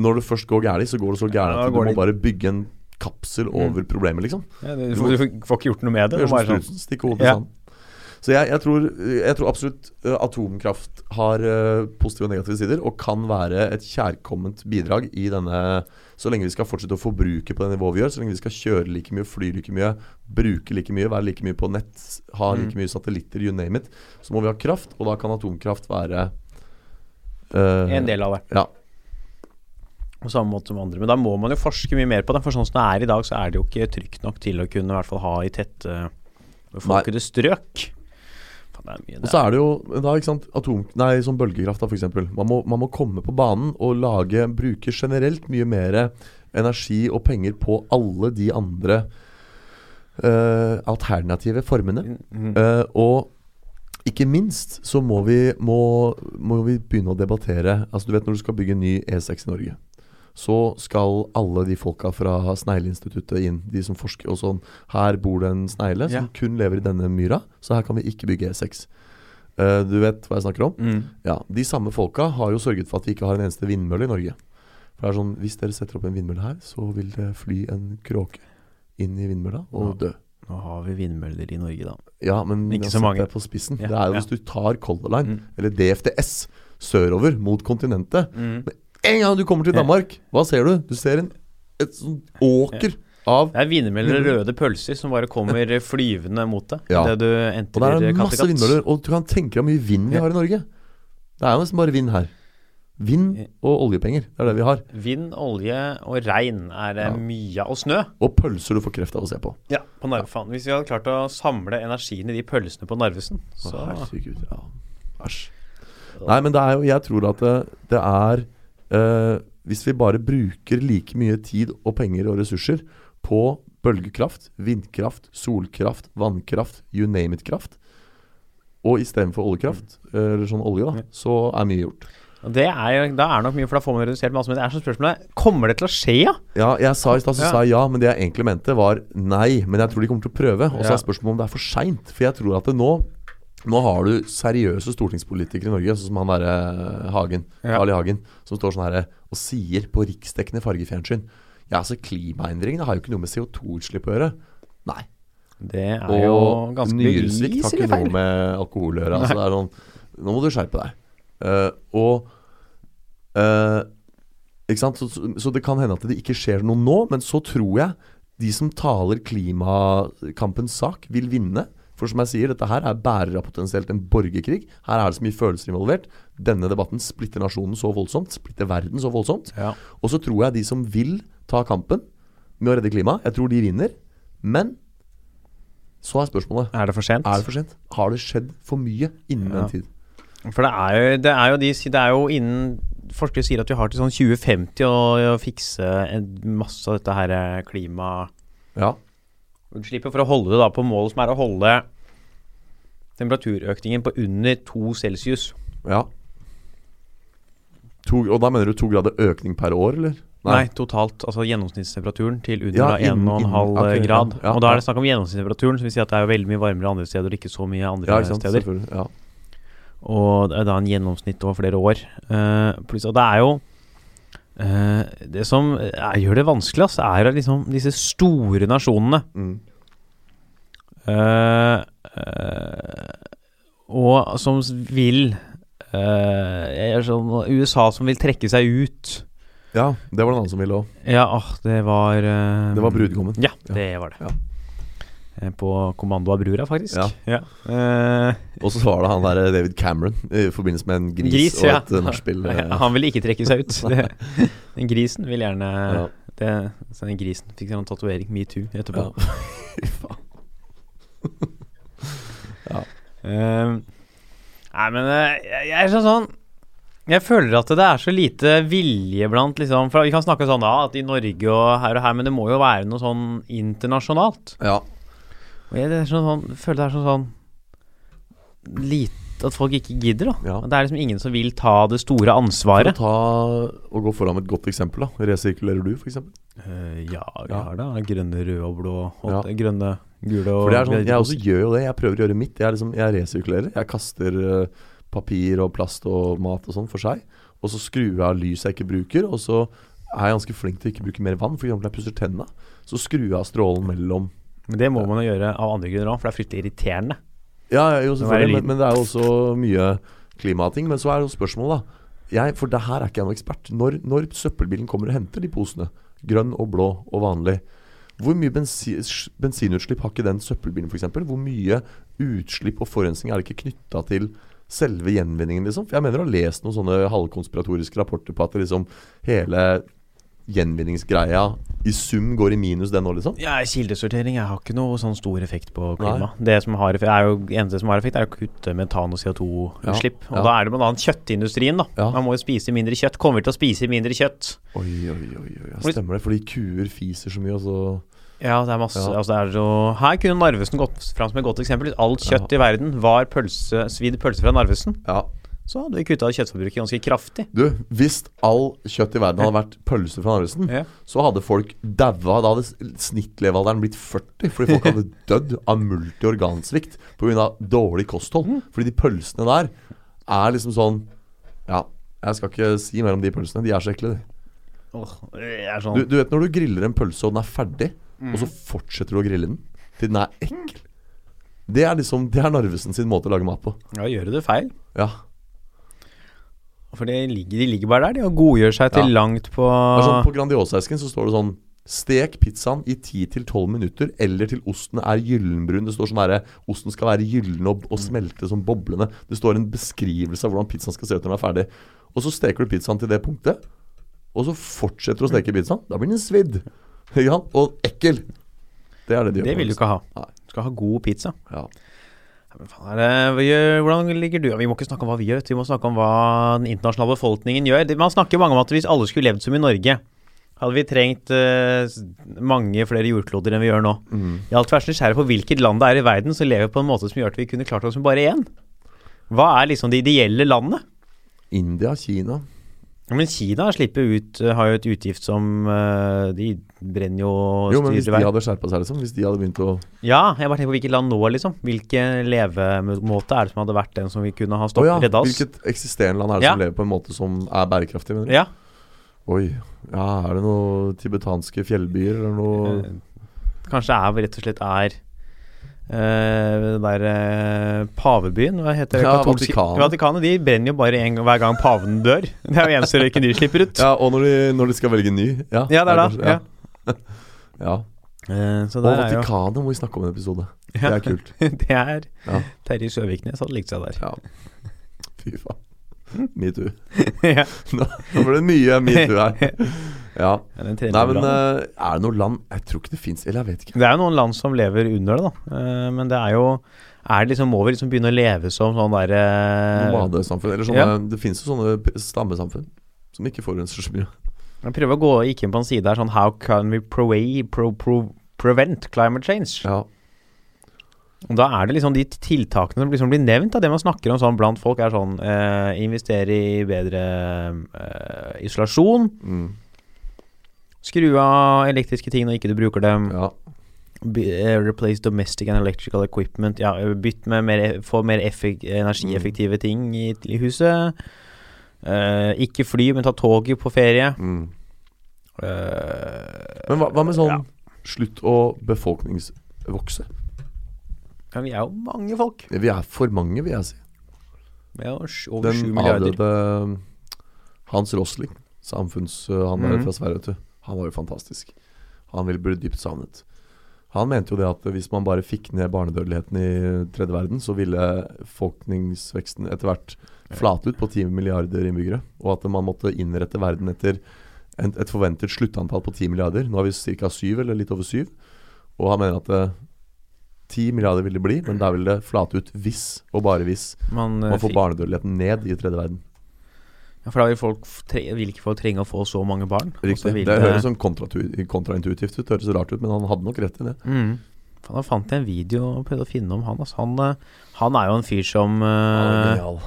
B: Når det først går gærent, så går det så gærent
A: Ja, da
B: at
A: går
B: du må
A: det- Mm.
B: bare bygge en kapsel over problemet, liksom.
A: Ja, du,
B: får-
A: får ikke gjort noe med
B: Gjør som
A: sånn
B: strutsen, stikk hodet i
A: Ja.
B: sanden. Så jeg, jeg, tror, jeg tror absolutt eh, atomkraft har eh, positive og negative sider, og kan være et kjærkomment bidrag i denne Så lenge vi skal fortsette å forbruke på det nivået vi gjør, så lenge vi skal kjøre like mye, fly like mye, bruke like mye, være like mye på nett, ha like mye satellitter, you name it, så må vi ha kraft, og da kan atomkraft være eh,
A: En del av det.
B: Ja.
A: På samme måte som andre. Men da må man jo forske mye mer på det. For sånn som det er i dag, så er det jo ikke trygt nok til å kunne i hvert fall ha i tette befolkede strøk. Faen, det er mye
B: Og
A: det
B: så
A: er.
B: er det jo da, ikke sant, atom, nei, sånn bølgekraft da, for eksempel. Man må, man må komme på banen og lage, bruke generelt mye mer energi og penger på alle de andre eh, alternative formene.
A: Mm.
B: Eh, og ikke minst så må vi, må, må vi begynne å debattere Altså du vet når du skal bygge en ny E6 i Norge, så skal alle de folka fra Snegleinstituttet inn. De som forsker og sånn. Her bor det en snegle som
A: Ja.
B: kun lever i denne myra, så her kan vi ikke bygge E6. Eh, du vet hva jeg snakker om?
A: Mm.
B: Ja, De samme folka har jo sørget for at vi ikke har en eneste vindmølle i Norge. For det er sånn, Hvis dere setter opp en vindmølle her, så vil det fly en kråke inn i vindmølla og dø.
A: Nå har vi vindmøller i Norge, da.
B: Ja, men
A: Ikke
B: jeg
A: så
B: setter
A: mange.
B: deg på spissen.
A: Ja,
B: det er jo
A: ja.
B: hvis du tar Color Line,
A: Mm.
B: eller DFDS, sørover mot kontinentet.
A: Mm.
B: En gang du kommer til
A: Ja.
B: Danmark, hva ser du? Du ser en, et sånn åker av
A: Det er vindmøller og røde pølser som bare kommer flyvende mot deg.
B: Ja.
A: Det du
B: Og der
A: entrer
B: er det masse
A: Kattegat.
B: vindmøller. Og du kan tenke deg hvor mye vind vi
A: Ja.
B: har i Norge. Det er jo nesten bare vind her. Vind
A: Ja.
B: og oljepenger. Det er det vi har.
A: Vind, olje og regn er det
B: Ja.
A: mye av. Og snø.
B: Og pølser du får kreft av å se på.
A: Ja, på Narvefan. Hvis vi hadde klart å samle energien i de pølsene på Narvesen,
B: Å,
A: så
B: Herregud, ja. Æsj. Nei, men det er jo Jeg tror at det, det er eh, Hvis vi bare bruker like mye tid og penger og ressurser på bølgekraft, vindkraft, solkraft, vannkraft, you name it-kraft, og istedenfor oljekraft, eller sånn olje, da, så er mye gjort.
A: Og Det er jo, da er det nok mye, for da får man redusert masse. Men det er sånn spørsmålet Kommer det til å skje, ja?
B: Ja, jeg sa i stad så
A: Ja.
B: sa jeg ja, men det jeg egentlig mente var nei. Men jeg tror de kommer til å prøve. Og så
A: Ja.
B: er spørsmålet om det er for seint. For jeg tror at det nå Nå har du seriøse stortingspolitikere i Norge, sånn som han derre Hagen,
A: Ja.
B: Carl I. Hagen, som står sånn herre og sier på riksdekkende fargefjernsyn Ja, altså klimaendringene har jo ikke noe med CO2-utslipp å gjøre. Nei.
A: Det er jo
B: Og
A: ganske
B: nyresvikt har
A: beviselig
B: ikke noe
A: feil.
B: med alkohol å gjøre. Altså, det er sånn, nå må du skjerpe deg. Eh, og eh, ikke sant? Så, så, så det kan hende at det ikke skjer noe nå, men så tror jeg de som taler klimakampens sak, vil vinne. For som jeg sier, dette her er bærer av potensielt en borgerkrig. Her er det så mye følelser involvert. Denne debatten splitter nasjonen så voldsomt, splitter verden så voldsomt.
A: Ja.
B: Og så tror jeg de som vil ta kampen med å redde klimaet, jeg tror de vinner. Men så er spørsmålet
A: Er det for sent?
B: er det for sent? Har det skjedd for mye innen
A: Ja.
B: den tid?
A: For det er jo, det er jo, de, det er jo innen Forskere sier at vi har til sånn 2050 å, å fikse en masse av dette her eh, klimautslippet
B: Ja.
A: for å holde det da på målet som er å holde temperaturøkningen på under to celsius.
B: ja. To, og da mener du to grader økning per år, eller?
A: Nei. totalt. Altså gjennomsnittstemperaturen til
B: Ja,
A: under
B: innen-
A: da 1,5
B: innen- ok,
A: eh, grad.
B: ja, ja,
A: og da
B: ja.
A: er det snakk om gjennomsnittstemperaturen, som vil si at det er jo veldig mye varmere andre steder og ikke så mye andre
B: Ja, ikke sant?
A: steder.
B: Selvfølgelig. Ja.
A: Og det er da en gjennomsnitt over flere år. Eh, pluss, og det er jo eh, Det som eh, gjør det vanskelig, ass, er at liksom disse store nasjonene
B: Mm.
A: eh, eh, Og som s- vil eh, jeg er sånn, USA som vil trekke seg ut.
B: ja, det var det en annen som ville òg.
A: Ja, ah, det var eh,
B: Det var brudgommen.
A: Ja,
B: Ja.
A: det var det.
B: Ja.
A: Eh, På kommando av brura, faktisk.
B: Ja.
A: Eh,
B: Og så var det han der eh, David Cameron i forbindelse med en gris,
A: Gris,
B: og
A: ja.
B: et eh, nachspiel. eh,
A: han ville ikke trekke seg ut. Det, den grisen vil gjerne
B: Ja.
A: det, så Den grisen fikk en tatovering, metoo, etterpå.
B: Ja. Fy faen.
A: Eh, nei, men eh, jeg, jeg er sånn sånn Jeg føler at det er så lite vilje blant liksom For vi kan snakke sånn da, at i Norge og her og her, men det må jo være noe sånn internasjonalt.
B: ja.
A: Og jeg det er sånn, sånn, føler det er sånn sånn lite At folk ikke gidder, da.
B: Ja.
A: Det er liksom ingen som vil ta det store
B: For å
A: ansvaret.
B: ta og gå foran med et godt eksempel, da. Resirkulerer du, f.eks.?
A: Eh, ja, vi
B: Ja.
A: har det. Grønne, røde og blå. Og
B: Ja.
A: det Grønne, gule og
B: For det er sånn,
A: røde
B: Jeg
A: poser.
B: også gjør jo det. Jeg prøver å gjøre mitt. Jeg, er liksom, jeg resirkulerer. Jeg kaster eh, papir og plast og mat og sånn for seg. Og så skrur jeg av lys jeg ikke bruker. Og så er jeg ganske flink til å ikke bruke mer vann. For eksempel når jeg pusser tenna, så skrur jeg av strålen mellom
A: Men det må man jo gjøre av andre grunner òg, for det er fryktelig irriterende.
B: Ja, ja, jo, selvfølgelig.
A: være
B: Men, men det er jo også mye klimating. Men så er jo spørsmålet, da. Jeg, for det her er ikke jeg noen ekspert. Når, når søppelbilen kommer og henter de posene, grønn og blå og vanlig, hvor mye bensi, s- bensinutslipp har ikke den søppelbilen, f.eks.? Hvor mye utslipp og forurensning er det ikke knytta til selve gjenvinningen, liksom? For jeg mener å ha lest noen sånne halvkonspiratoriske rapporter på at det liksom hele gjenvinningsgreia i sum går i minus, den nå, liksom.
A: Ja, kildesortering jeg har ikke noe sånn stor effekt på
B: Nei.
A: klima. Det som har effekt, er jo, eneste som har effekt, er å kutte metan- og CO2-utslipp.
B: Ja,
A: Og
B: ja.
A: da er det bl.a. kjøttindustrien, da.
B: Ja.
A: Man må jo spise mindre kjøtt. Kommer vi til å spise mindre kjøtt?
B: Oi, oi, oi, oi. ja,
A: Fordi-
B: Stemmer det? Fordi kuer fiser så mye, og så
A: Ja, det er masse
B: Ja.
A: Altså, det er så Her kunne Narvesen gått fram som et godt eksempel. Hvis Alt kjøtt i verden var pølse, svidd pølse fra Narvesen,
B: Ja.
A: så hadde vi kutta kjøttforbruket ganske kraftig.
B: Du, hvis all kjøtt i verden hadde vært pølser fra Narvesen,
A: Ja.
B: så hadde folk daua. Da hadde s- snittlevealderen blitt 40, fordi folk hadde dødd av multiorgansvikt pga. dårlig kosthold. Fordi de pølsene der er liksom sånn Ja, jeg skal ikke si mer om de pølsene. De er så ekle, de.
A: Åh, det er sånn
B: Du, du vet når du griller en pølse, og den er ferdig, og så fortsetter du å grille den til den er ekkel. Det er liksom Det er Narvesen sin måte å lage mat på.
A: Ja, gjør du det feil?
B: Ja.
A: For det ligger, de ligger bare der, de, og godgjør seg til
B: Ja.
A: langt på
B: Det er sånn, på Grandiosa-esken så står det sånn Stek pizzaen i 10-12 minutter, eller til osten er gyllenbrun. Det står sånn herre Osten skal være gyllen og,
A: Mm.
B: og smelte som boblende. Det står en beskrivelse av hvordan pizzaen skal se ut når den er ferdig. Og så steker du pizzaen til det punktet, og så fortsetter du å
A: Mm.
B: steke pizzaen. Da blir den svidd. Ikke sant? Og ekkel. Det er det de gjør.
A: Det vil du ikke ha.
B: Nei.
A: Du skal ha god pizza.
B: Ja.
A: Ja, Men faen er det, hva gjør- hvordan ligger du Vi må ikke snakke om hva vi gjør, vet du. vi må snakke om hva den internasjonale befolkningen gjør. Det- Man snakker jo mange om at hvis alle skulle levd som i Norge, hadde vi trengt eh, s- mange flere jordkloder enn vi gjør nå.
B: Mm.
A: Jeg har alltid vært så nysgjerrig på hvilket land det er i verden som lever på en måte som gjør at vi kunne klart oss med bare én. Hva er liksom det ideelle landet?
B: India, Kina
A: Ja, Men Kina slipper jo ut, eh, har jo et utgift som eh, De brenner jo og
B: Jo, men hvis
A: styrer
B: de
A: verden.
B: hadde skjerpa seg, liksom. Hvis de hadde begynt å
A: Ja, jeg bare tenker på hvilket land nå, liksom. Hvilken levemåte er det som hadde vært den som vi kunne ha
B: Å
A: stoppet
B: ja,
A: redda oss?
B: hvilket eksisterende land er det som lever på en måte som er bærekraftig? Mener du?
A: Ja.
B: Oi. Ja, er det noen tibetanske fjellbyer eller noe
A: Eh, Kanskje det er rett og slett er eh, det der eh, pavebyen, hva heter det?
B: Ja,
A: Katolske-
B: Vatikanet.
A: Vatikanet. De brenner jo bare en, gang- hver gang paven dør. Det er jo eneste røyken de slipper ut.
B: Ja, og når de, når de skal velge ny. Ja,
A: Ja, det er da.
B: kanskje-
A: Ja.
B: Ja. ja.
A: Eh, så
B: Og
A: der er jo
B: Vatikanet må vi snakke om i en episode. Det er kult.
A: det er
B: Ja.
A: Terje Søviknes hadde likt seg der.
B: Ja. Fy faen. Metoo.
A: ja.
B: Nå ble det mye metoo her. Ja.
A: Ja, den
B: Nei,
A: trener
B: men
A: bra.
B: eh, er det noe land Jeg tror ikke det fins Eller jeg vet ikke.
A: Det er jo noen land som lever under det, da. Eh, Men det er jo er det liksom, Må vi liksom begynne å leve som sånn derre
B: Nomadesamfunn. Eller sånne,
A: Eh, Ja.
B: Det fins jo sånne p- stammesamfunn som ikke forurenser så mye.
A: Jeg prøver å gå gikk inn på en side her sånn How can we proway, pro, pro, prevent climate change?
B: Ja.
A: Og da er det liksom de tiltakene som liksom blir nevnt, da, det man snakker om sånn blant folk, er sånn eh, Investere i bedre eh, isolasjon.
B: Mm.
A: Skru av elektriske ting når ikke du bruker dem.
B: ja.
A: By, eh, replace domestic and electrical equipment. Ja, eh, bytt med mer, få mer effek,
B: Mm.
A: energieffektive ting i, i huset. Eh, ikke fly, men ta toget på ferie.
B: Mm.
A: Eh,
B: Men hva, hva med sånn
A: Ja.
B: Slutt å befolkningsvokse.
A: ja, vi er jo mange folk.
B: Vi er for mange, vil jeg si.
A: Vi er jo sj- over sju
B: Den
A: milliarder.
B: avdøde um, Hans Rosling, samfunns... uh, Han er
A: Mhm.
B: fra Sverige, vet du. Han var jo fantastisk. Han ville bli dypt savnet. Han mente jo det at hvis man bare fikk ned barnedødeligheten i tredje verden, så ville befolkningsveksten etter hvert flate ut på 10 milliarder innbyggere. Og at man måtte innrette verden etter en, et forventet sluttantall på 10 milliarder. Nå har vi ca. 7, eller litt over 7. Og han mener at eh, 10 milliarder vil det bli, men der vil det flate ut hvis, og bare hvis,
A: Man, eh,
B: man får
A: fikk-
B: barnedødeligheten ned i tredje verden.
A: ja, for da vil folk f- tre, vil ikke få trenge å få så mange barn. og så
B: Riktig.
A: vil
B: Det høres sånn kontratu- kontraintuitivt ut, høres rart ut, men han hadde nok rett i det.
A: Mm. Faen, da fant jeg en video og prøvde å finne om han. Altså. Han, eh, han er jo en fyr som eh,
B: Genial.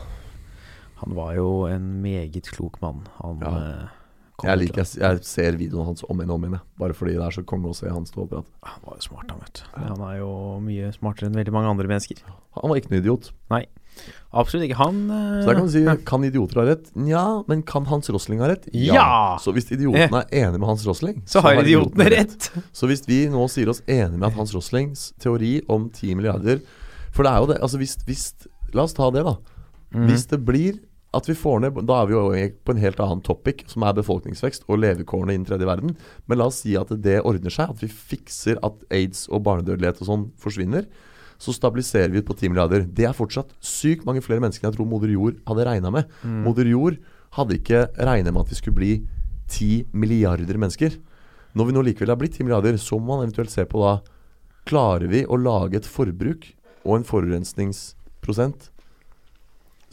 A: Han var jo en meget klok mann. Han
B: Ja.
A: eh, kom
B: Jeg
A: ut-
B: liker, jeg, jeg ser videoen hans om igjen og om igjen, jeg. bare fordi det er så konge å se han stå og prate.
A: Han var jo smart, han, vet du. Han er jo mye smartere enn veldig mange andre mennesker.
B: Han var ikke noe idiot.
A: Absolutt ikke. Han eh,
B: Så der kan du si kan idioter ha rett? Nja, men kan Hans Rosling ha rett?
A: Ja! Eh.
B: Så hvis idioten er enig med Hans Rosling,
A: så har idiotene rett!
B: Så hvis vi nå sier oss enig med at Hans Roslings teori om 10 milliarder For det er jo det altså hvis, hvis, La oss ta det, da. Hvis det blir at vi får ned Da er vi jo egentlig på en helt annen topic, som er befolkningsvekst og levekårene innen tredje verden. Men la oss si at det ordner seg, at vi fikser at aids og barnedødelighet og sånn forsvinner. Så stabiliserer vi på 10 milliarder. Det er fortsatt sykt mange flere mennesker enn jeg tror moder jord hadde regna med. Moder jord hadde ikke regna med at vi skulle bli 10 milliarder mennesker. Når vi nå likevel har blitt 10 milliarder, så må man eventuelt se på da Klarer vi å lage et forbruk og en forurensningsprosent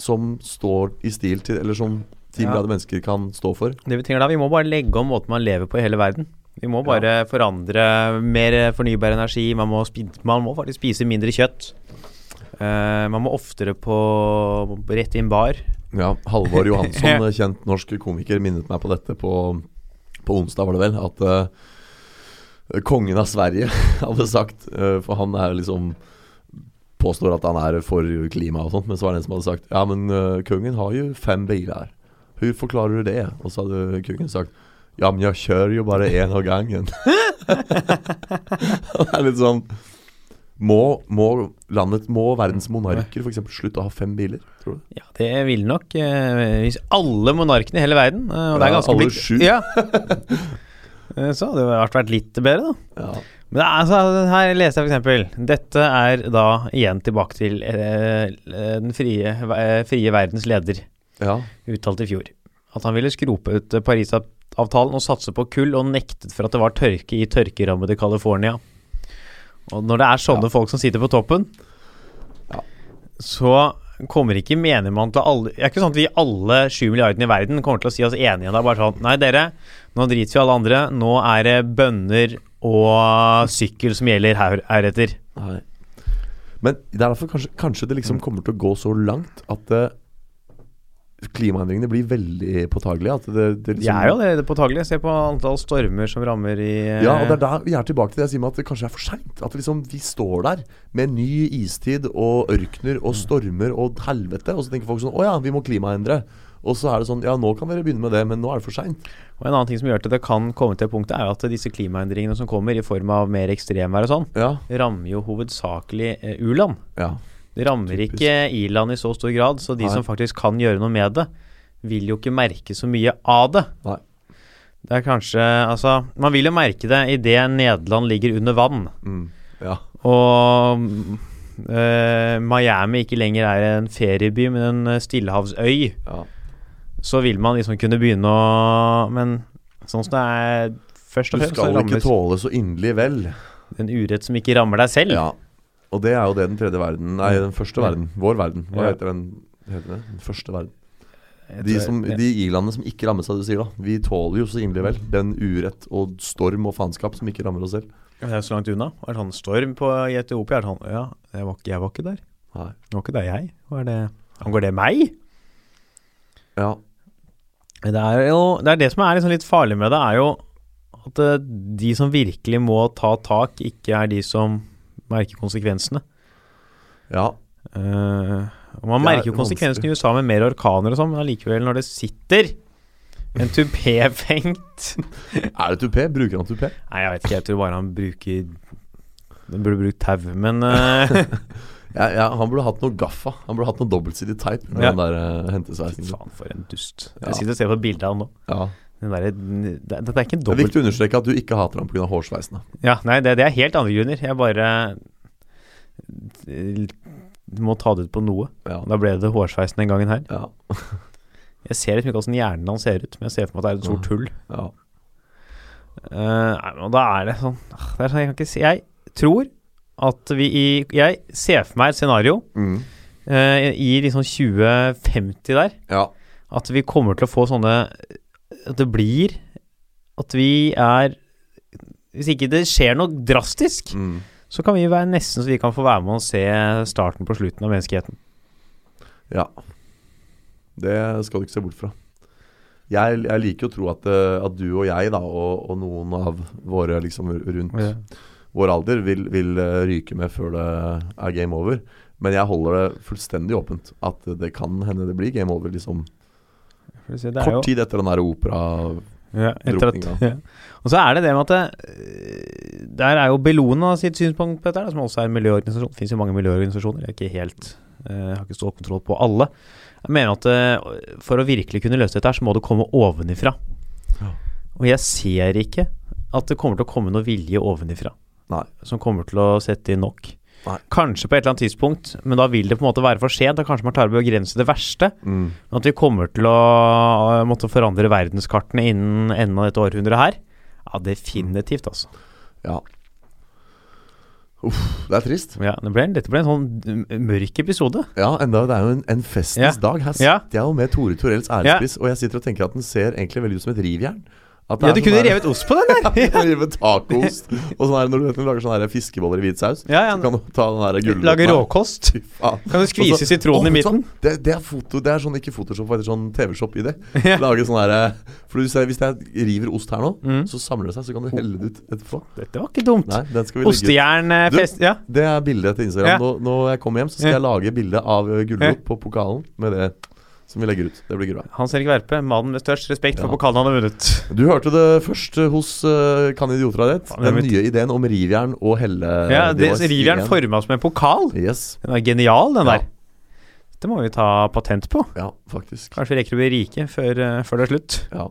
B: som står i stil til Eller som 10
A: Ja.
B: milliarder mennesker kan stå for?
A: Det vi trenger da, vi må bare legge om måten man lever på i hele verden. Vi må bare forandre mer fornybar energi. Man må, spi man må faktisk spise mindre kjøtt. Eh, man må oftere på rett inn bar.
B: Ja, Halvor Johansson, eh, kjent norsk komiker, minnet meg på dette på, på onsdag, var det vel. At eh, kongen av Sverige hadde sagt eh, For han er liksom påstår at han er for klima og sånt, men så var det en som hadde sagt Ja, men eh, kongen har jo fem biler. Hvordan forklarer du det? Og så hadde kongen sagt Ja, men jeg kjører jo bare én av gangen. det er litt sånn Må, må landet, må verdens monarker f.eks. slutte å ha fem biler, tror du?
A: Ja, det vil nok eh, Hvis alle monarkene i hele verden eh, Og det er
B: Ja,
A: ganske
B: alle
A: blitt-
B: sju.
A: Ja. Eh, Så hadde det vært- vært litt bedre, da.
B: Ja.
A: Men det er, altså, her leser jeg f.eks.: Dette er da igjen tilbake til eh, den frie, eh, frie verdens leder,
B: ja.
A: uttalte i fjor. At han ville skrope ut eh, Parisavtalen og satse på kull, og nektet for at det var tørke i tørkerammede California. Og når det er sånne
B: Ja.
A: folk som sitter på toppen,
B: Ja.
A: så kommer ikke mener man til alle Det er ikke sånn at vi alle sju milliardene i verden kommer til å si oss enige. Det er bare sånn Nei, dere, nå driter vi i alle andre. Nå er det bønner og sykkel som gjelder her, heretter.
B: Nei. Men det er derfor kanskje, kanskje det
A: Mm.
B: liksom kommer til å gå så langt at eh, klimaendringene blir veldig påtagelige. At det, det
A: De
B: liksom-
A: er jo allerede påtagelige. Se på antall stormer som rammer i eh,
B: Ja, og det er der vi er tilbake til det jeg sier med at det kanskje er for seint. At liksom vi står der med ny istid og ørkener
A: Mm.
B: og stormer og helvete, og så tenker folk sånn Å ja, vi må klimaendre. Og så er det sånn Ja, nå kan dere begynne med det, men nå er det for seint.
A: Og en annen ting som gjør at det kan komme til det punktet, er jo at disse klimaendringene som kommer i form av mer ekstremvær og sånn,
B: Ja.
A: rammer jo hovedsakelig eh, u-land.
B: ja.
A: Det rammer
B: Typisk.
A: ikke i-land i så stor grad, så de
B: Nei.
A: som faktisk kan gjøre noe med det, vil jo ikke merke så mye av det.
B: Nei.
A: Det er kanskje Altså, man vil jo merke det idet Nederland ligger under vann.
B: Mm. Ja.
A: Og eh, Miami ikke lenger er en ferieby, men en eh, stillehavsøy.
B: ja.
A: Så vil man liksom kunne begynne å Men sånn som det er først
B: Du
A: og fremst, så
B: skal ikke
A: rammes
B: tåle så inderlig vel.
A: en urett som ikke rammer deg selv.
B: Ja. Og det er jo det den tredje verden Nei, den første verden. Vår verden. Hva
A: Ja.
B: heter den? Heter det? Den første verden.
A: Jeg
B: De,
A: tror-
B: som,
A: ja.
B: de i-landene som ikke rammes av det du sier, da. Vi tåler jo så inderlig vel den urett og storm og faenskap som ikke rammer oss selv.
A: Men Det er jo så langt unna. Er det sånn storm på, i Etiopia? Er det sånn Ja, jeg var, ikke, jeg var ikke der.
B: Nei.
A: Det var ikke der, jeg. Hva er det Angår det meg?
B: Ja.
A: Det er jo Det, er det som er liksom litt farlig med det, er jo at eh, de som virkelig må ta tak, ikke er de som merker konsekvensene.
B: ja.
A: Eh, og man
B: Det er
A: merker jo konsekvensene i USA med mer orkaner og sånn, men allikevel, når det sitter en tupéfengt
B: Er det tupé? Bruker han tupé?
A: Nei, jeg vet ikke, jeg tror bare han bruker Den burde brukt tau, men eh,
B: Ja, ja, han burde hatt noe gaffa. Han burde hatt noe dobbeltsidig teip. Med
A: Ja.
B: den der eh,
A: Fy
B: hentesveisen.
A: faen, for en dust.
B: Ja.
A: Jeg sitter og ser på et bilde av han nå.
B: Ja.
A: Den derre- den- det, dette er ikke en
B: Det er
A: dobbelt
B: viktig å understreke at du ikke hater ham pga. hårsveisen. da.
A: Ja, nei, det, det er helt andre grunner. Jeg bare eh, må ta det ut på noe.
B: Ja.
A: Da ble det hårsveisen den gangen her.
B: Ja.
A: Jeg ser liksom ikke hvordan hjernen hans ser ut, men jeg ser for meg at det er et stort hull.
B: ja.
A: Eh, nei, men da er det sånn ah, Det er sånn, jeg kan ikke si Jeg tror at vi i Jeg ser for meg et scenario
B: Mm.
A: eh, i liksom 2050 der,
B: ja.
A: at vi kommer til å få sånne At det blir At vi er Hvis ikke det skjer noe drastisk,
B: Mm.
A: så kan vi være nesten så vi kan få være med og se starten på slutten av menneskeheten.
B: Ja. Det skal du ikke se bort fra. Jeg, jeg liker å tro at, eh, at du og jeg, da, og, og noen av våre liksom rundt vår alder, vil, vil eh, ryke med før det er game over. Men jeg holder det fullstendig åpent at det kan hende det blir game over liksom
A: For å si, det er jo,
B: kort tid etter den der opera...
A: ja, etter at,
B: drukninga.
A: ja. Og så er det det med at det, øh, der er jo Bellona sitt synspunkt på dette, her, da, som også er en miljøorganisasjon. Det fins jo mange miljøorganisasjoner, jeg er ikke helt øh, jeg har ikke stålkontroll på alle. Jeg mener at øh, for å virkelig kunne løse dette, her, så må det komme ovenifra.
B: Ja.
A: Og jeg ser ikke at det kommer til å komme noe vilje ovenifra.
B: Nei.
A: Som kommer til å sette inn nok.
B: Nei.
A: Kanskje på et eller annet tidspunkt, men da vil det på en måte være for sent. Da kanskje man klarer å begrense det verste.
B: Mm.
A: Men At vi kommer til å eh, måtte forandre verdenskartene innen enden av dette århundret her. Ja, definitivt, altså.
B: Ja. Uff, det er trist.
A: Ja, det ble, dette ble en sånn mm, mørk episode.
B: Ja, enda det er jo en, en festens
A: Ja.
B: dag. Her sitter
A: Ja.
B: jeg jo med Tore Torells ærespiss, og jeg sitter og tenker at den ser egentlig veldig ut som et rivjern. At det
A: Ja,
B: er
A: du
B: sånn
A: kunne
B: der-
A: revet ost på den der!
B: Du kan rive tacoost. Og sånn her, når du vet når du lager sånne her fiskeboller i hvit saus,
A: Ja, ja.
B: så kan du ta den her gulroten
A: Lage
B: her.
A: råkost.
B: Fy faen.
A: Kan du
B: Og
A: skvise
B: så-
A: sitronen i
B: Å, vet du
A: midten?
B: hva? Det, det, er foto, det er sånn ikke Photoshop, men sånn TV-shop i det.
A: Ja.
B: Lage sånn her For du ser, hvis jeg river ost her nå,
A: Mm.
B: så samler det seg, så kan du helle det ut etterpå.
A: Dette var ikke dumt.
B: Nei, den skal vi legge ut.
A: Ostejern eh,
B: Du-
A: fest... Ja.
B: Det er bildet til Instagram.
A: Ja.
B: Nå, når jeg kommer hjem, så skal
A: Ja.
B: jeg lage bilde av eh, gulrot
A: Ja.
B: på pokalen med det som vi legger ut. Det blir gulrot.
A: Hans Erik Verpe, mannen med størst respekt for
B: Ja.
A: pokalen han har vunnet.
B: Du hørte det først eh, hos uh, Kan idioter ha rett?
A: Faen, jeg
B: Den
A: vet-
B: nye ideen om rivjern og helle...
A: Ja, Eh, det,
B: var
A: Rivjern
B: ideen.
A: forma som en pokal.
B: Yes.
A: Den er genial, den
B: Ja.
A: der. Det må vi ta patent på.
B: Ja, faktisk.
A: Kanskje vi rekker å bli rike før, eh, før det er slutt.
B: Ja.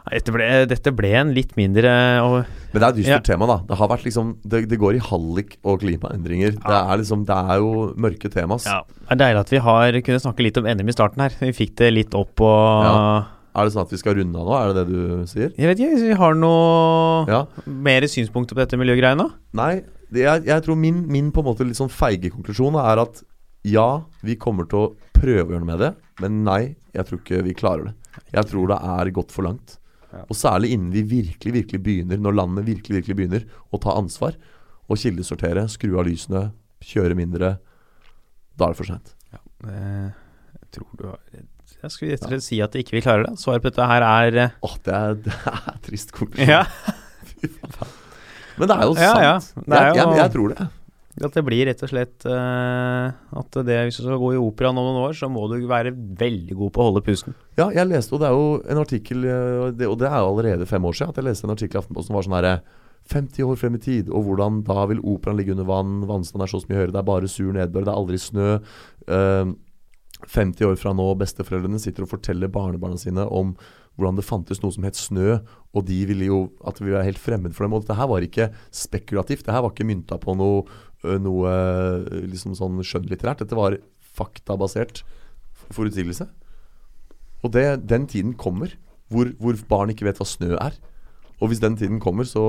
A: Nei, Dette ble, dette ble en litt mindre og,
B: Men det er et dystert
A: Ja.
B: tema, da. Det, har vært liksom, det, det går i hallik og klimaendringer. Det,
A: Ja.
B: er liksom, det er jo mørke temas.
A: Det er deilig at vi har kunnet snakke litt om NM i starten her. Vi fikk det litt opp og
B: Ja. Er det sånn at vi skal runde av nå? Er det det du sier?
A: Jeg vet ikke, hvis vi har noe
B: Ja.
A: mer synspunkter på dette miljøgreiene?
B: Nei, det, jeg, jeg tror min, min på en måte litt sånn feige konklusjon da, er at ja, vi kommer til å prøve å gjøre noe med det, men nei, jeg tror ikke vi klarer det. Jeg tror det er gått for langt.
A: Ja.
B: Og særlig innen vi virkelig, virkelig begynner, når landet virkelig, virkelig begynner å ta ansvar og kildesortere, skru av lysene, kjøre mindre, da er det for seint.
A: Eh, Jeg tror du har Jeg skulle rett og slett si at ikke vi klarer det. Svaret på dette her er eh,
B: Åh, det er, det er trist konklusjon.
A: Ja,
B: Men det er jo
A: Ja, ja.
B: sant.
A: Det er
B: Jeg, jeg,
A: jo-
B: jeg tror det.
A: at det blir rett og slett eh, at det, hvis du skal gå i operaen om noen år, så må du være veldig god på å holde pusten.
B: Ja, jeg leste, og det er jo en artikkel eh, det- Og det er jo allerede fem år siden at jeg leste en artikkel i Aftenposten som var sånn herre 50 år frem i tid, og hvordan da vil operaen ligge under vann, vannstanden er så mye høyere, det er bare sur nedbør, det er aldri snø. eh, 50 år fra nå, besteforeldrene sitter og forteller barnebarna sine om hvordan det fantes noe som het snø, og de ville jo at det ville være helt fremmed for dem. Og dette her var ikke spekulativt, det her var ikke mynta på noe, ø, noe ø, liksom sånn skjønnlitterært. Dette var faktabasert forutsigelse. Og det, den tiden kommer hvor, hvor barn ikke vet hva snø er. Og hvis den tiden kommer, så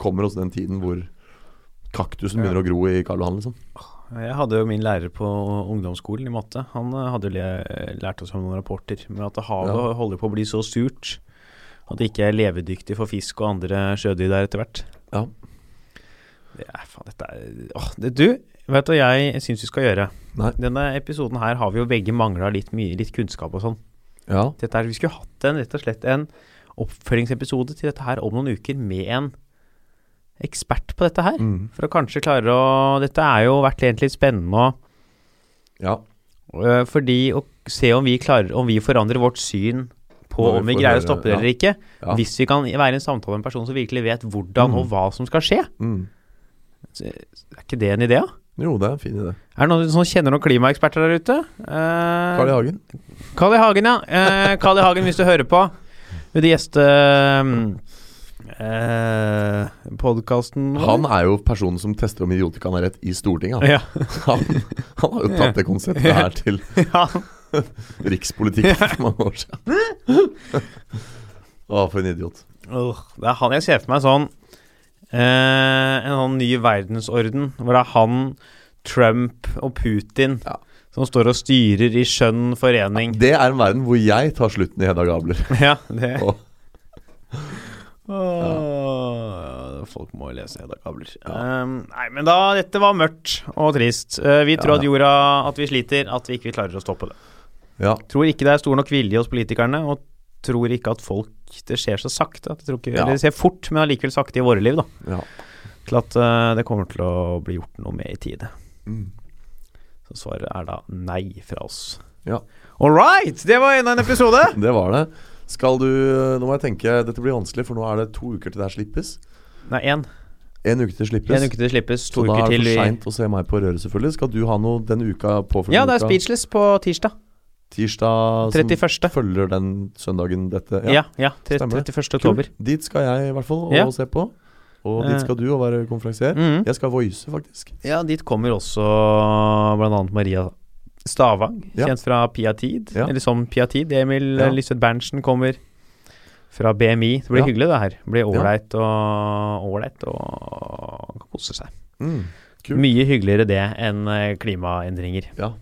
B: kommer også den tiden hvor kaktusen begynner å gro i Karl Johan, liksom.
A: Jeg hadde jo min lærer på ungdomsskolen i matte. Han eh, hadde jo le- lært oss om noen rapporter med at havet
B: Ja.
A: holder på å bli så surt at det ikke er levedyktig for fisk og andre sjødyr der etter hvert.
B: Ja.
A: Det er faen, dette er åh, det, Du, vet du hva jeg syns vi skal gjøre?
B: Nei.
A: Denne episoden her har vi jo begge mangla litt mye litt kunnskap og sånn.
B: Ja.
A: Dette her, Vi skulle hatt en, rett og slett en oppfølgingsepisode til dette her om noen uker med en ekspert på dette her.
B: Mm.
A: For å kanskje klare å Dette er jo vært egentlig litt spennende. Og
B: ja.
A: Eh, Fordi å se om vi, klarer, om vi forandrer vårt syn på
B: Når vi
A: om vi
B: får
A: greier å
B: høre-
A: stoppe det
B: ja.
A: eller ikke.
B: Ja.
A: Hvis vi kan være i en samtale med en person som virkelig vet hvordan
B: Mm.
A: og hva som skal skje.
B: Mm.
A: Så, Er ikke det en idé, da?
B: Jo, det er en fin idé.
A: Er det noen som kjenner noen klimaeksperter der ute? Eh,
B: Carl I. Hagen.
A: Carl I. Hagen, ja. Eh, Carl I. Hagen, hvis du hører på. Vil du gjeste mm, eh, podkasten vår?
B: Han er jo personen som tester om idiotikaen er rett i Stortinget. Han.
A: Ja.
B: Han, han har jo tatt det konseptet her til
A: ja.
B: rikspolitikk for mange år siden. Å, for en idiot.
A: Åh, det er han jeg ser for meg sånn eh, En sånn ny verdensorden hvor det er han, Trump og Putin
B: Ja.
A: som står og styrer i skjønn forening.
B: Det er en verden hvor jeg tar slutten i Hedda Gabler.
A: Ja, det
B: Og,
A: Åh, Folk må lese Hedda Kabler. Ehm, nei, men da Dette var mørkt og trist. Eh, vi tror
B: Ja.
A: at jorda At vi sliter, at vi ikke klarer å stoppe det.
B: ja,
A: Tror ikke det er stor nok vilje hos politikerne, og tror ikke at folk Det skjer så sakte. at jeg Tror ikke,
B: Ja.
A: Eller det skjer fort, men allikevel sakte i våre liv, da.
B: ja.
A: til at eh, det kommer til å bli gjort noe med i tide.
B: Mm.
A: Så svaret er da nei fra oss.
B: Ja.
A: All right! Det var enda en episode.
B: Det var det. Skal du Nå må jeg tenke, dette blir vanskelig, for nå er det to uker til det her slippes.
A: nei, én.
B: En uke til slippes.
A: En uke til slippes, to
B: så da
A: uker
B: er det
A: til.
B: for
A: i-
B: seint å se meg på røret, selvfølgelig. Skal du ha noe den uka påfølgende
A: Ja, det er
B: uka?
A: Speechless på tirsdag.
B: Tirsdag som
A: 31.
B: følger den søndagen dette.
A: Ja, ja, tre-
B: Stemmer
A: 31. oktober.
B: Kult. Dit skal jeg i hvert fall og
A: Ja.
B: se på. Og
A: Eh.
B: dit skal du og være konferansier.
A: Mhm.
B: Jeg skal voice, faktisk.
A: Ja, dit kommer også bl.a. Maria Stavang,
B: Ja.
A: kjent fra Pia Tid.
B: Ja.
A: Eller som Pia Tid. Emil
B: Ja.
A: ja. Lisbeth Berntsen kommer fra BMI. Det blir
B: Ja.
A: hyggelig, det her. Det blir
B: Ja.
A: ålreit og ålreit og kose seg.
B: Mm. Kult.
A: Mye hyggeligere det enn eh, klimaendringer.
B: Ja.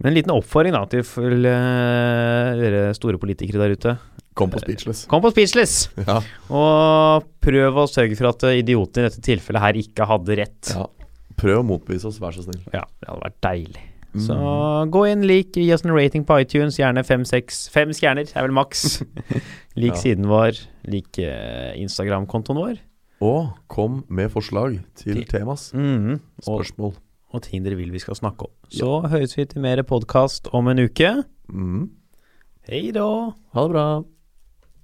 A: Men en liten oppfordring da til full, eh, dere store politikere der ute.
B: Kom på Speechless.
A: Kom på Speechless!
B: Ja.
A: Og prøv å sørge for at eh, idioten i dette tilfellet her ikke hadde rett.
B: ja. Prøv å motbevise oss, vær så snill.
A: Ja, det hadde vært deilig.
B: Mm.
A: Så gå inn, lik, gi oss en rating på iTunes. Gjerne fem, seks Fem stjerner er vel maks. lik
B: Ja.
A: siden vår. Lik eh, Instagram-kontoen vår.
B: Og kom med forslag
A: Til-
B: til temas.
A: Mhm. Og,
B: Spørsmål.
A: og ting dere vil vi skal snakke om. Så høres vi til mer podkast om en uke.
B: Mm.
A: Hei da!
B: Ha det bra.